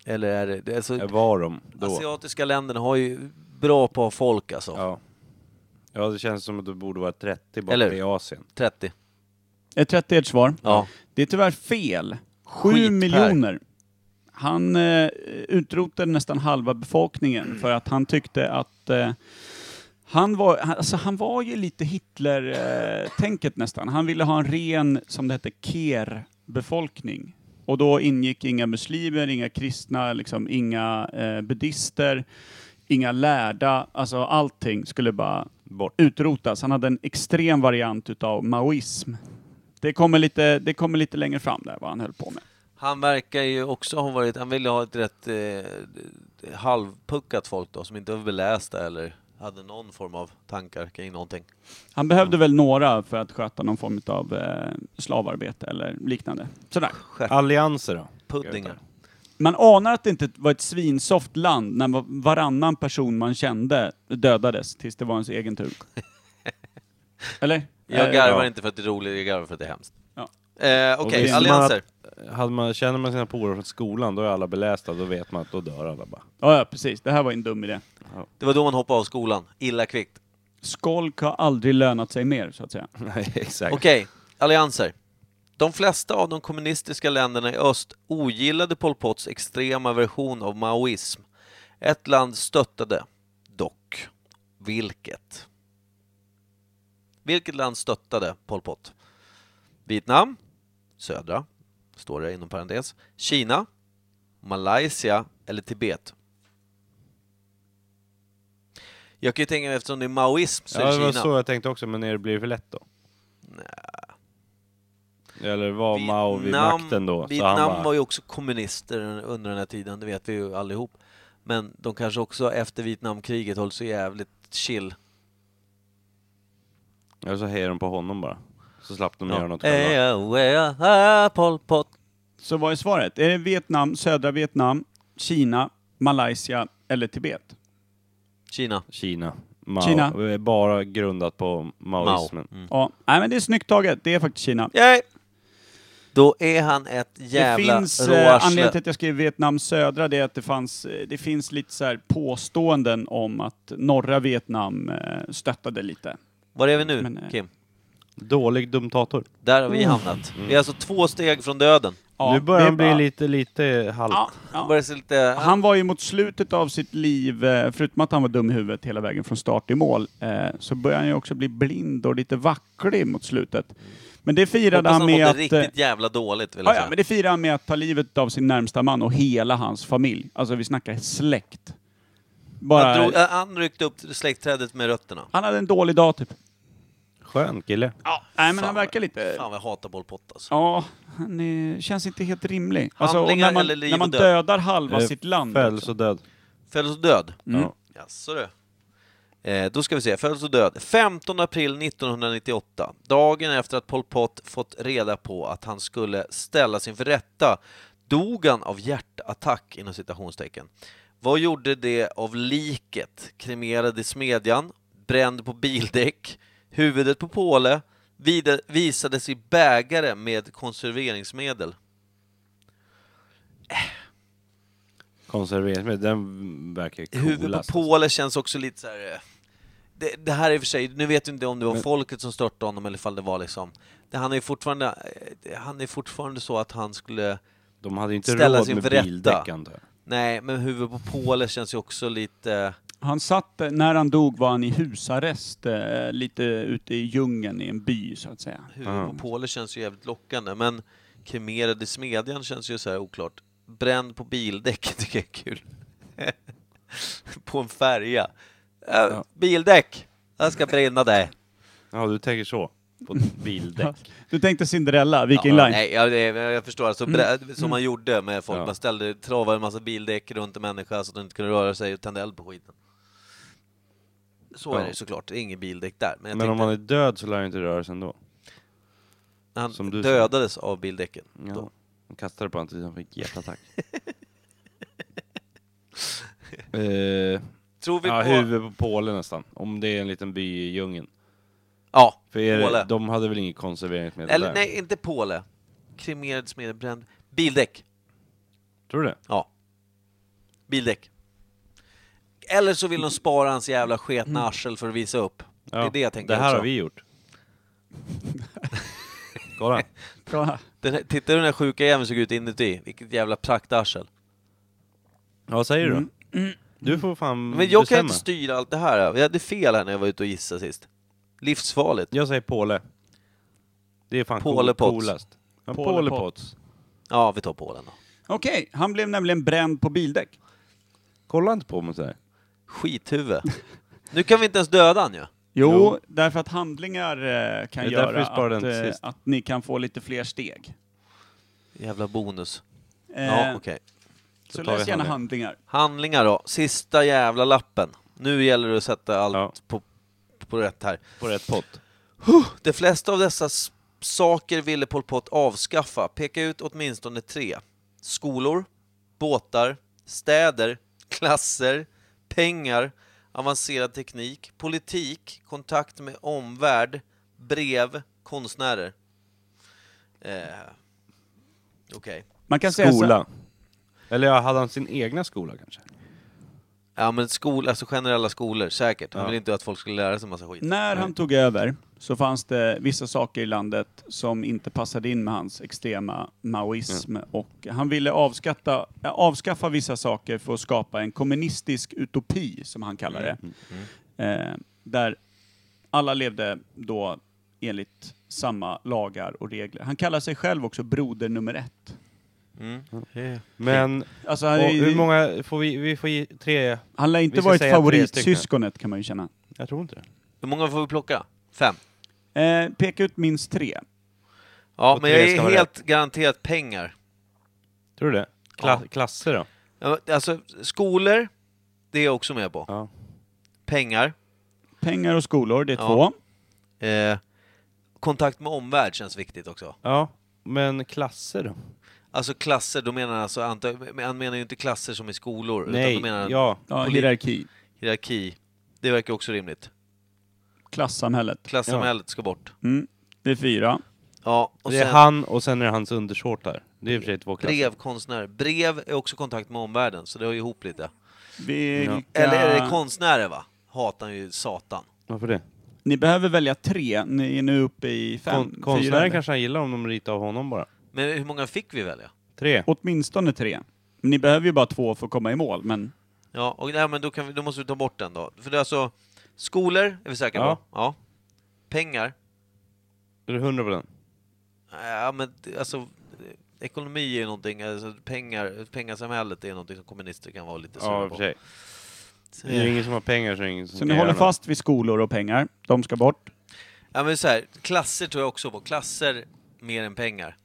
Eller är det... det är
ja.
alltså,
Var de då?
asiatiska länderna har ju bra på att ha folk alltså.
Ja. ja, det känns som att det borde vara 30 bara
Eller
för det i Asien.
30.
Är 30 ert svar?
Ja.
Det är tyvärr fel. 7
Skit, Per.
miljoner. Han eh, utrotade nästan halva befolkningen för att han tyckte att eh, han var, han, alltså han var ju lite Hitler-tänket nästan. Han ville ha en ren, som det hette, Ker-befolkning. Och då ingick inga muslimer, inga kristna, liksom, inga eh, buddhister, inga lärda. Alltså allting skulle bara
Bort.
utrotas. Han hade en extrem variant utav maoism. Det kommer lite, det kommer lite längre fram där, vad han höll på med.
Han verkar ju också ha varit... Han ville ha ett rätt eh, halvpuckat folk då, som inte var belästa eller hade någon form av tankar kring någonting.
Han behövde väl några för att sköta någon form av eh, slavarbete eller liknande. Sådär.
Allianser då?
Puddingar.
Man anar att det inte var ett svinsoft land när va- varannan person man kände dödades tills det var ens egen tur. Eller?
Jag
Eh,
garvar
ja.
inte för att det är roligt, jag garvar för att det är hemskt.
Ja.
Eh, Okej,
Och visste man
allianser.
att- Hade man, känner man sina polare från skolan, då är alla belästa, då vet man att då dör alla bara.
Ja, ja, precis. Det här var en dum idé.
Det var då man hoppade av skolan, illa kvickt.
Skolk har aldrig lönat sig mer, så att säga.
Nej, exakt.
Okej, allianser. De flesta av de kommunistiska länderna i öst ogillade Pol Pots extrema version av maoism. Ett land stöttade, dock. Vilket? Vilket land stöttade Pol Pot? Vietnam, södra, står det inom parentes. Kina, Malaysia eller Tibet? Jag kan ju tänka mig eftersom det är maoism så
Ja,
är
det var
Kina.
så jag tänkte också, men är det, blir det för lätt då? Nej. Eller var Mao vid
Vietnam-
makten då? Så han
Vietnam
bara,
var ju också kommunister under den här tiden, det vet vi ju allihop. Men de kanske också efter Vietnamkriget höll sig jävligt chill.
Eller så hejade de på honom bara. Så slapp de göra något
Eh,
själva.
eh, eh, eh, Pol Pot.
Så vad är svaret? Är det Vietnam, södra Vietnam, Kina, Malaysia eller Tibet?
Kina.
Kina. Mao.
Kina.
Kina. Bara grundat på
Mao.
maoismen.
Mm.
Ja, nej men det är snyggt taget. Det är faktiskt Kina.
Yay! Då är han ett jävla
det finns, eh, anledningen till
råarsle.
att jag skrev Vietnam södra, det är att det, fanns, eh, det finns lite så här påståenden om att norra Vietnam eh, stöttade lite.
Var är vi nu,
Men, eh, oh.
Kim?
Dålig dumtator.
Där har vi hamnat.
Mm.
Vi är alltså två steg från döden.
Ja,
nu börjar
det är
han bli
bara-
lite, lite halvt.
Ja,
Det
ja.
börjar se lite...
Han var ju mot slutet av sitt liv, eh, förutom att han var dum i huvudet hela vägen från start till mål, eh, så började han ju också bli blind och lite vacklig mot slutet. Men det firade
Hoppas
han
han mådde
med att... eh,
riktigt jävla dåligt, vill jag
Ja, ja,
säga.
men det firar han med att ta livet av sin närmsta man och hela hans familj. Alltså vi snackar släkt. Bara,
Han, drog, eh, han ryckte upp släktträdet med rötterna.
han hade en dålig dag typ.
Skön kille.
Mm,
Ja, nej men
Fan
han
vad-
verkar lite...
Fan vad jag hatar Pol Pot alltså.
Ja, han är, känns inte helt rimlig. Alltså, och
Handlingar
när man,
eller liv
när man
och död?
dödar halva
Eh,
sitt land.
Föll
också.
så död.
Föddes och död?
Mm.
Ja.
Jaså du. Eh, då ska vi se, föddes och död. 15 april 1998, dagen efter att Pol Pot fått reda på att han skulle ställas inför rätta, dog han av hjärtattack inom citationstecken. Vad gjorde det av liket? Kremerad i smedjan, bränd på bildäck, huvudet på påle, vide- visades i bägare med konserveringsmedel.
Konserveringsmedel, den verkar
Huvudet
coolast.
på Påle känns också lite så här. eh, Det, det här är i och för sig, nu vet du inte om det var folket som störtade honom eller ifall det var liksom... Det, han är ju fortfarande, eh, det- han är fortfarande så att han skulle...
De hade ju inte
Ställa
råd
sig
med
inför rätta.
bildäck antar jag.
Nej, men huvudet på Påle känns ju också lite...
Han satt, eh, när han dog var han i husarrest, eh, lite ute i djungeln i en by så att säga.
Huvudet på Påle känns ju jävligt lockande, men kremerad i smedjan känns ju så här oklart. Bränd på bildäck tycker jag är kul. på en färja. Äh, Bildäck! Jag ska brinna dig.
Ja, du tänker så. på ett bildäck.
Du tänkte Cinderella, Viking
ja,
Line.
Nej, jag, jag förstår. Alltså, brä- som man gjorde med folk.
Ja.
Man ställde, travade en massa bildäck runt en människa så att den inte kunde röra sig och tände eld på skiten. Så
Ja.
är det såklart. Det är ingen bildäck där. Men, jag
Men om
tänkte,
man är död så lär det inte röra sig ändå.
han
som du sa.
dödades av bildäcken.
Ja.
Då.
De kastade på honom tills han fick hjärtattack. eh,
Tror vi
ja,
på...
huvud på Påle nästan. Om det är en liten by i djungeln.
Ja,
För är det,
Påle.
de hade väl inget konserveringsmedel
Eller
där?
nej, inte påle. Kremerad, smedjad, bränd. Bildäck.
Tror du det?
Ja. Bildäck. Eller så vill de spara hans jävla sketna arsel för att visa upp. Det
Ja.
är det jag tänker
Det här
också.
har vi gjort. Kolla.
Bra.
Den här, titta hur den här sjuka jäveln såg ut inuti. Vilket jävla praktarsel.
Ja, vad säger du då? Du får fan
Men jag kan
bestämma.
inte styra allt det här. Jag hade fel här när jag var ute och gissade sist. Livsfarligt.
Jag säger Påle. Det är fan
Påle
Påle
Potts.
coolast. Ja,
Påle
Påle
Potts.
Potts.
Ja, vi tar Polen då.
Okej, han blev nämligen bränd på bildäck.
Kolla inte på mig sådär.
Skithuvud. Nu kan vi inte ens döda han ju.
Jo,
Jo.
därför att handlingar eh, kan
Det är därför
göra
vi sparar
att,
den till
eh,
sist.
att ni kan få lite fler steg.
Jävla bonus.
Eh,
Ja, okej.
Så
Då tar
läs
vi
gärna
handlingar.
handlingar.
Handlingar då. Sista jävla lappen. Nu gäller det att sätta allt
Ja.
på, på rätt här.
På rätt pott.
De flesta av dessa s- saker ville Pol Pot avskaffa. Peka ut åtminstone tre. Skolor, båtar, städer, klasser, pengar, avancerad teknik, politik, kontakt med omvärld, brev, konstnärer. Eh, Okej.
Man kan säga så,
Skola. Eller ja, hade han sin egna skola kanske?
Ja men skol, alltså generella skolor, säkert. Han
Ja.
ville inte att folk skulle lära sig massa skit.
när han tog över så fanns det vissa saker i landet som inte passade in med hans extrema maoism
Mm.
och han ville avskatta, ja, avskaffa vissa saker för att skapa en kommunistisk utopi, som han kallar det.
Mm,
Eh, där alla levde då enligt samma lagar och regler. Han kallar sig själv också broder nummer ett.
Mm.
Men
Alltså,
och,
han,
hur många får vi? Vi får ge tre.
han lär
vi
inte
ska
varit
säga tre
favoritsyskonet kan man ju känna.
Jag tror inte det.
Hur många får vi plocka? Fem?
Eh, peka ut minst tre.
Ja,
Och
men
tre
jag
ska
är
vara
helt garanterat pengar.
Tror du det? Kla Klasser då?
Ja, men Alltså, skolor, det är jag också med på.
Ja.
Pengar.
Pengar och skolor, det är
Ja.
två.
Eh, kontakt med omvärld känns viktigt också.
Ja, men klasser då?
Alltså klasser, då menar han alltså, anta- men han menar ju inte klasser som i skolor, utan
Nej,
då menar han
ja.
Ja,
Polit-
hierarki.
hierarki. Det verkar också rimligt.
Klassamhället.
Klassamhället ska bort.
Mm. Det är fyra.
Ja, och
Det är
sen
han och sen är det hans undersåtar. Det är i och för sig två klasser.
brevkonstnärer. Brev är också kontakt med omvärlden, så det hör ju ihop lite.
Vilka...
Eller är det konstnärer va? Hatar han ju satan.
Varför det?
Ni behöver välja tre. Ni är nu uppe i fem.
Kon
fyra,
konstnären
eller?
kanske han gillar om de ritar av honom bara.
Men hur många fick vi välja?
Tre.
Åtminstone tre. Ni behöver ju bara två för att komma i mål, men
Ja, och nej, men då, kan vi, då måste vi ta bort den då. För det är alltså, skolor är vi säkra
Ja.
på? Ja. Pengar?
Är du hundra på den?
Ja, men det- alltså, eh, ekonomi är ju någonting, alltså pengar, pengasamhället är någonting som kommunister kan vara lite
Ja, i
sura Eh,
och för
på.
sig.
Så-
Det är ju ingen som har pengar så är det ingen som
så
kan
ni håller
göra något.
fast vid skolor och pengar. De ska bort.
Ja, men så här, klasser tror jag också på. Klasser mer än pengar.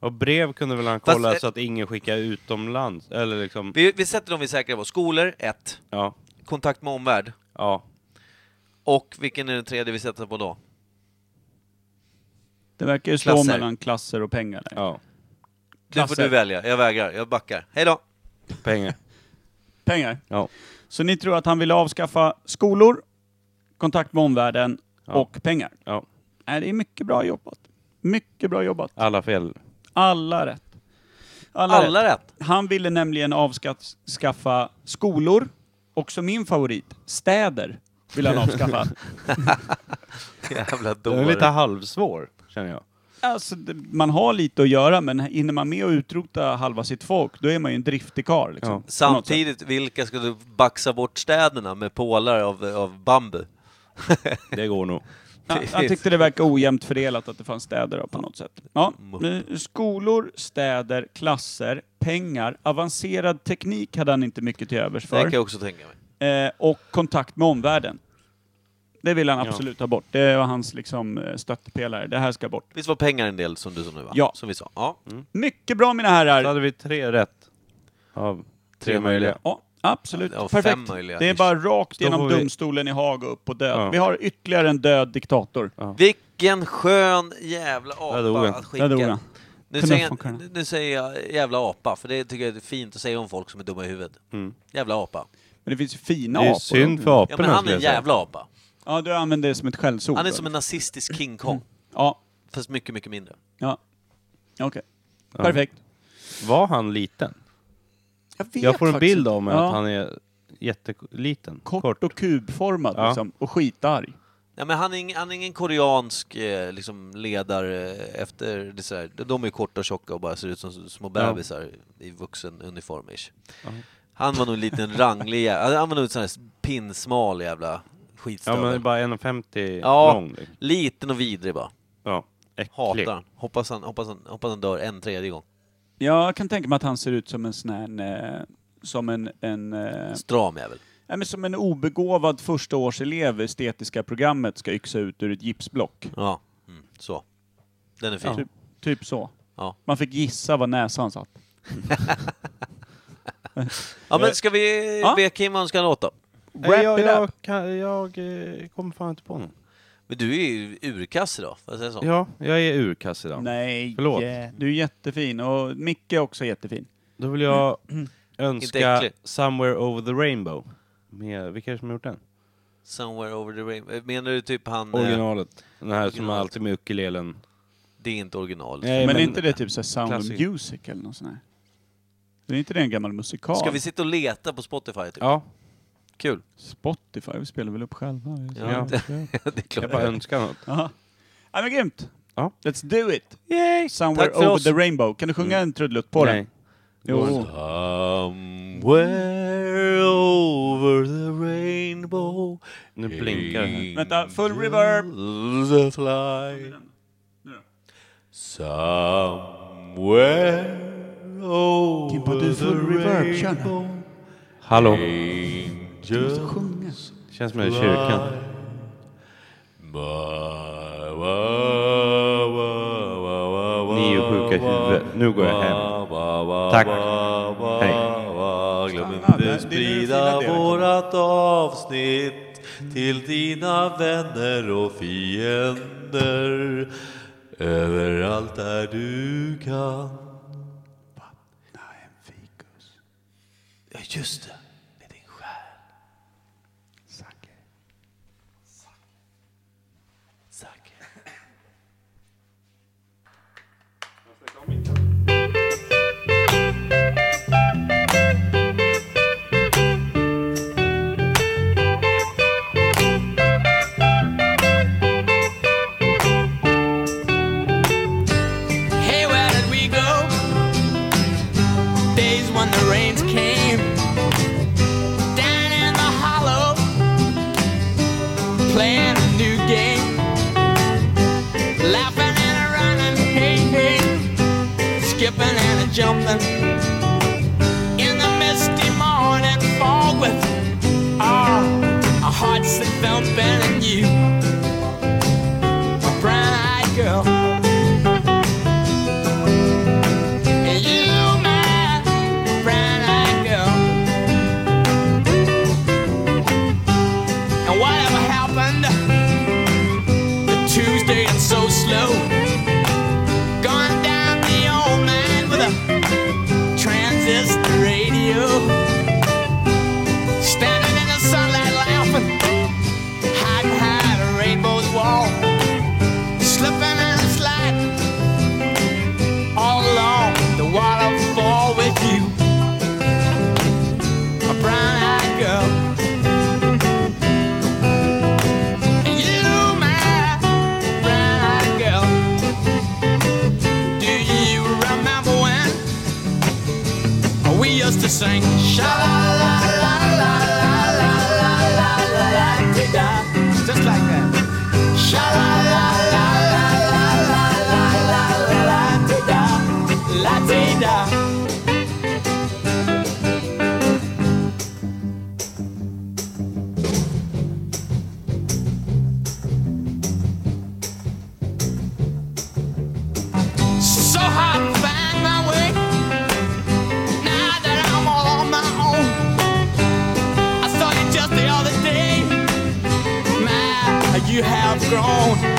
Och brev kunde väl han
Fast,
kolla
eh,
så att ingen skickar utomlands, eller liksom,
Vi, vi sätter dem vi är säkra på. Skolor, ett.
ja,
Kontakt med omvärld.
ja.
Och vilken är den tredje vi sätter på då?
Det verkar ju slå
Klasser.
mellan klasser och pengar. där.
ja.
Det får
Klasser.
du välja. Jag vägrar. Jag backar. Hej då!
Pengar.
Pengar.
Ja.
Så ni tror att han ville avskaffa skolor, kontakt med omvärlden
Ja.
och pengar?
Ja.
Nej, det är mycket bra jobbat. Mycket bra jobbat.
Alla fel.
Alla rätt. Alla, rätt.
Alla rätt!
Han ville nämligen avskaffa skolor, också min favorit, städer vill han avskaffa.
Jävla
Den är lite
dåre.
halvsvår, känner jag.
alltså, det- man har lite att göra, men hinner man med att utrota halva sitt folk, då är man ju en driftig karl. Liksom,
Ja.
på något sätt.
Samtidigt, vilka ska du baxa bort städerna med pålar av, av bambu?
Det går nog.
Ja, han tyckte det verkade ojämnt fördelat att det fanns städer då, på något sätt. Ja, eh, skolor, städer, klasser, pengar, avancerad teknik hade han inte mycket till övers
Det kan
för.
jag också tänka mig.
Eh, och kontakt med omvärlden. det vill han
Ja.
absolut ta bort. Det var hans liksom, eh, stöttepelare. Det här ska bort.
Visst var pengar en del som du sa nu va?
Ja.
Som vi sa. Ja.
Mycket bra mina
Så
herrar!
hade vi tre rätt av tre
Tre möjliga.
möjliga.
Ja, absolut.
Ja, fem
Perfekt.
möjliga.
Det är bara rakt
Då
genom
får vi-
domstolen i Haag och upp och död.
Ja.
Vi har ytterligare en död diktator.
Vilken skön jävla
Där dog
apa
han.
att
Där dog han.
skicka. Nu säger,
Knuff och knuff.
jag, nu säger jag jävla apa, för det tycker jag är fint att säga om folk som är dumma i huvudet.
Mm.
Jävla apa.
Men det finns ju fina
Det är
apor.
synd för
Ja,
aporna
men han
skulle
är
jag
en
säga.
jävla apa.
Ja, du använder det som ett skällsord.
Han är
då,
som en
liksom.
nazistisk King Kong,
Ja,
fast mycket, mycket mindre.
ja. Okej. Perfekt.
Var han liten?
Jag, vet
Jag får en
faktiskt
bild
inte.
av mig
Ja.
att han är jätteliten.
Kort, och kubformad
Ja.
liksom, och skitarg.
Ja, men han, är ing, han är ingen koreansk eh, liksom, ledare efter det så här. De är ju korta och tjocka och bara ser ut som små bebisar i vuxen uniform ish. Han var nog en liten ranglig jävla, han var nog en sån här pinsmal jävla
Ja
skitstövel.
men bara 1,50
Ja.
lång. liksom.
Liten och vidrig bara.
Ja. Äcklig.
Hatar han. Hoppas han, hoppas han. hoppas han dör en tredje gång.
Jag kan tänka mig att han ser ut som en sån här... eh, Som en... en eh,
Stram jävel.
nej, men som en obegåvad förstaårselev i estetiska programmet ska yxa ut ur ett gipsblock.
Ja, mm, så. Den är fin.
Typ, typ så.
Ja.
Man fick gissa var näsan satt.
Ja men ska vi
Ja.
be Kim önska en låt då?
Nej,
Wrap
jag,
it
jag,
up.
kan, jag eh, kommer fan inte på någon.
Men du är ju urkass idag, får jag säga så?
Ja, jag är urkass idag.
Nej,
Förlåt.
eh, du är jättefin och Micke är också jättefin.
Då vill jag
Mm.
Inte
önska
äcklig.
Somewhere Over the Rainbow. Med, vilka är det som har gjort den?
Somewhere over the rainbow. Menar du typ han... eh,
Originalet. Den här som
Originalet. Typ
alltid med ukulelen.
Det är inte original.
Nej,
Men,
men-
är inte det typ så här Sound of
Klassiker.
Music eller något sånt här? Det är inte det en gammal musikal?
Ska vi sitta och leta på Spotify typ?
Ja,
Kul.
Spotify, vi spelar väl upp själva?
Ja. det är
jag
klart.
bara önskar något.
Jaha. Ja men grymt!
Ja.
Let's do it!
Yay!
Somewhere
Tack för
over
oss. Mm.
the rainbow. Kan du sjunga en trudelutt på
Nej.
den? Jo.
Somewhere over the rainbow
Nu blinkar det här.
Vänta, full reverb!
The fly Mm. Somewhere oh,
Kimpa, du är
over
full reverb. Kör nu.
Hallå,
Du måste sjunga.
känns som jag är i kyrkan. Ni är ju sjuka i huvudet. Nu går jag hem. Tack. Hej.
Glöm
Stanna, det- det är nu
inte sprida
filen är.
vårat avsnitt till dina vänner och fiender överallt där du kan. Ja, just det. Det är din själ.
er.
Zacke.
Hey, where did we go? Days when the rains came. Down in the hollow, playing a new game. Laughing and a running, hey, hey. Skipping and a jumping. In the misty morning fog with ah, our hearts that thumping and you. A brown-eyed girl. And you, my brown-eyed girl. And whatever happened to Tuesday and so slow? Gone down the old man with a tramp you have grown.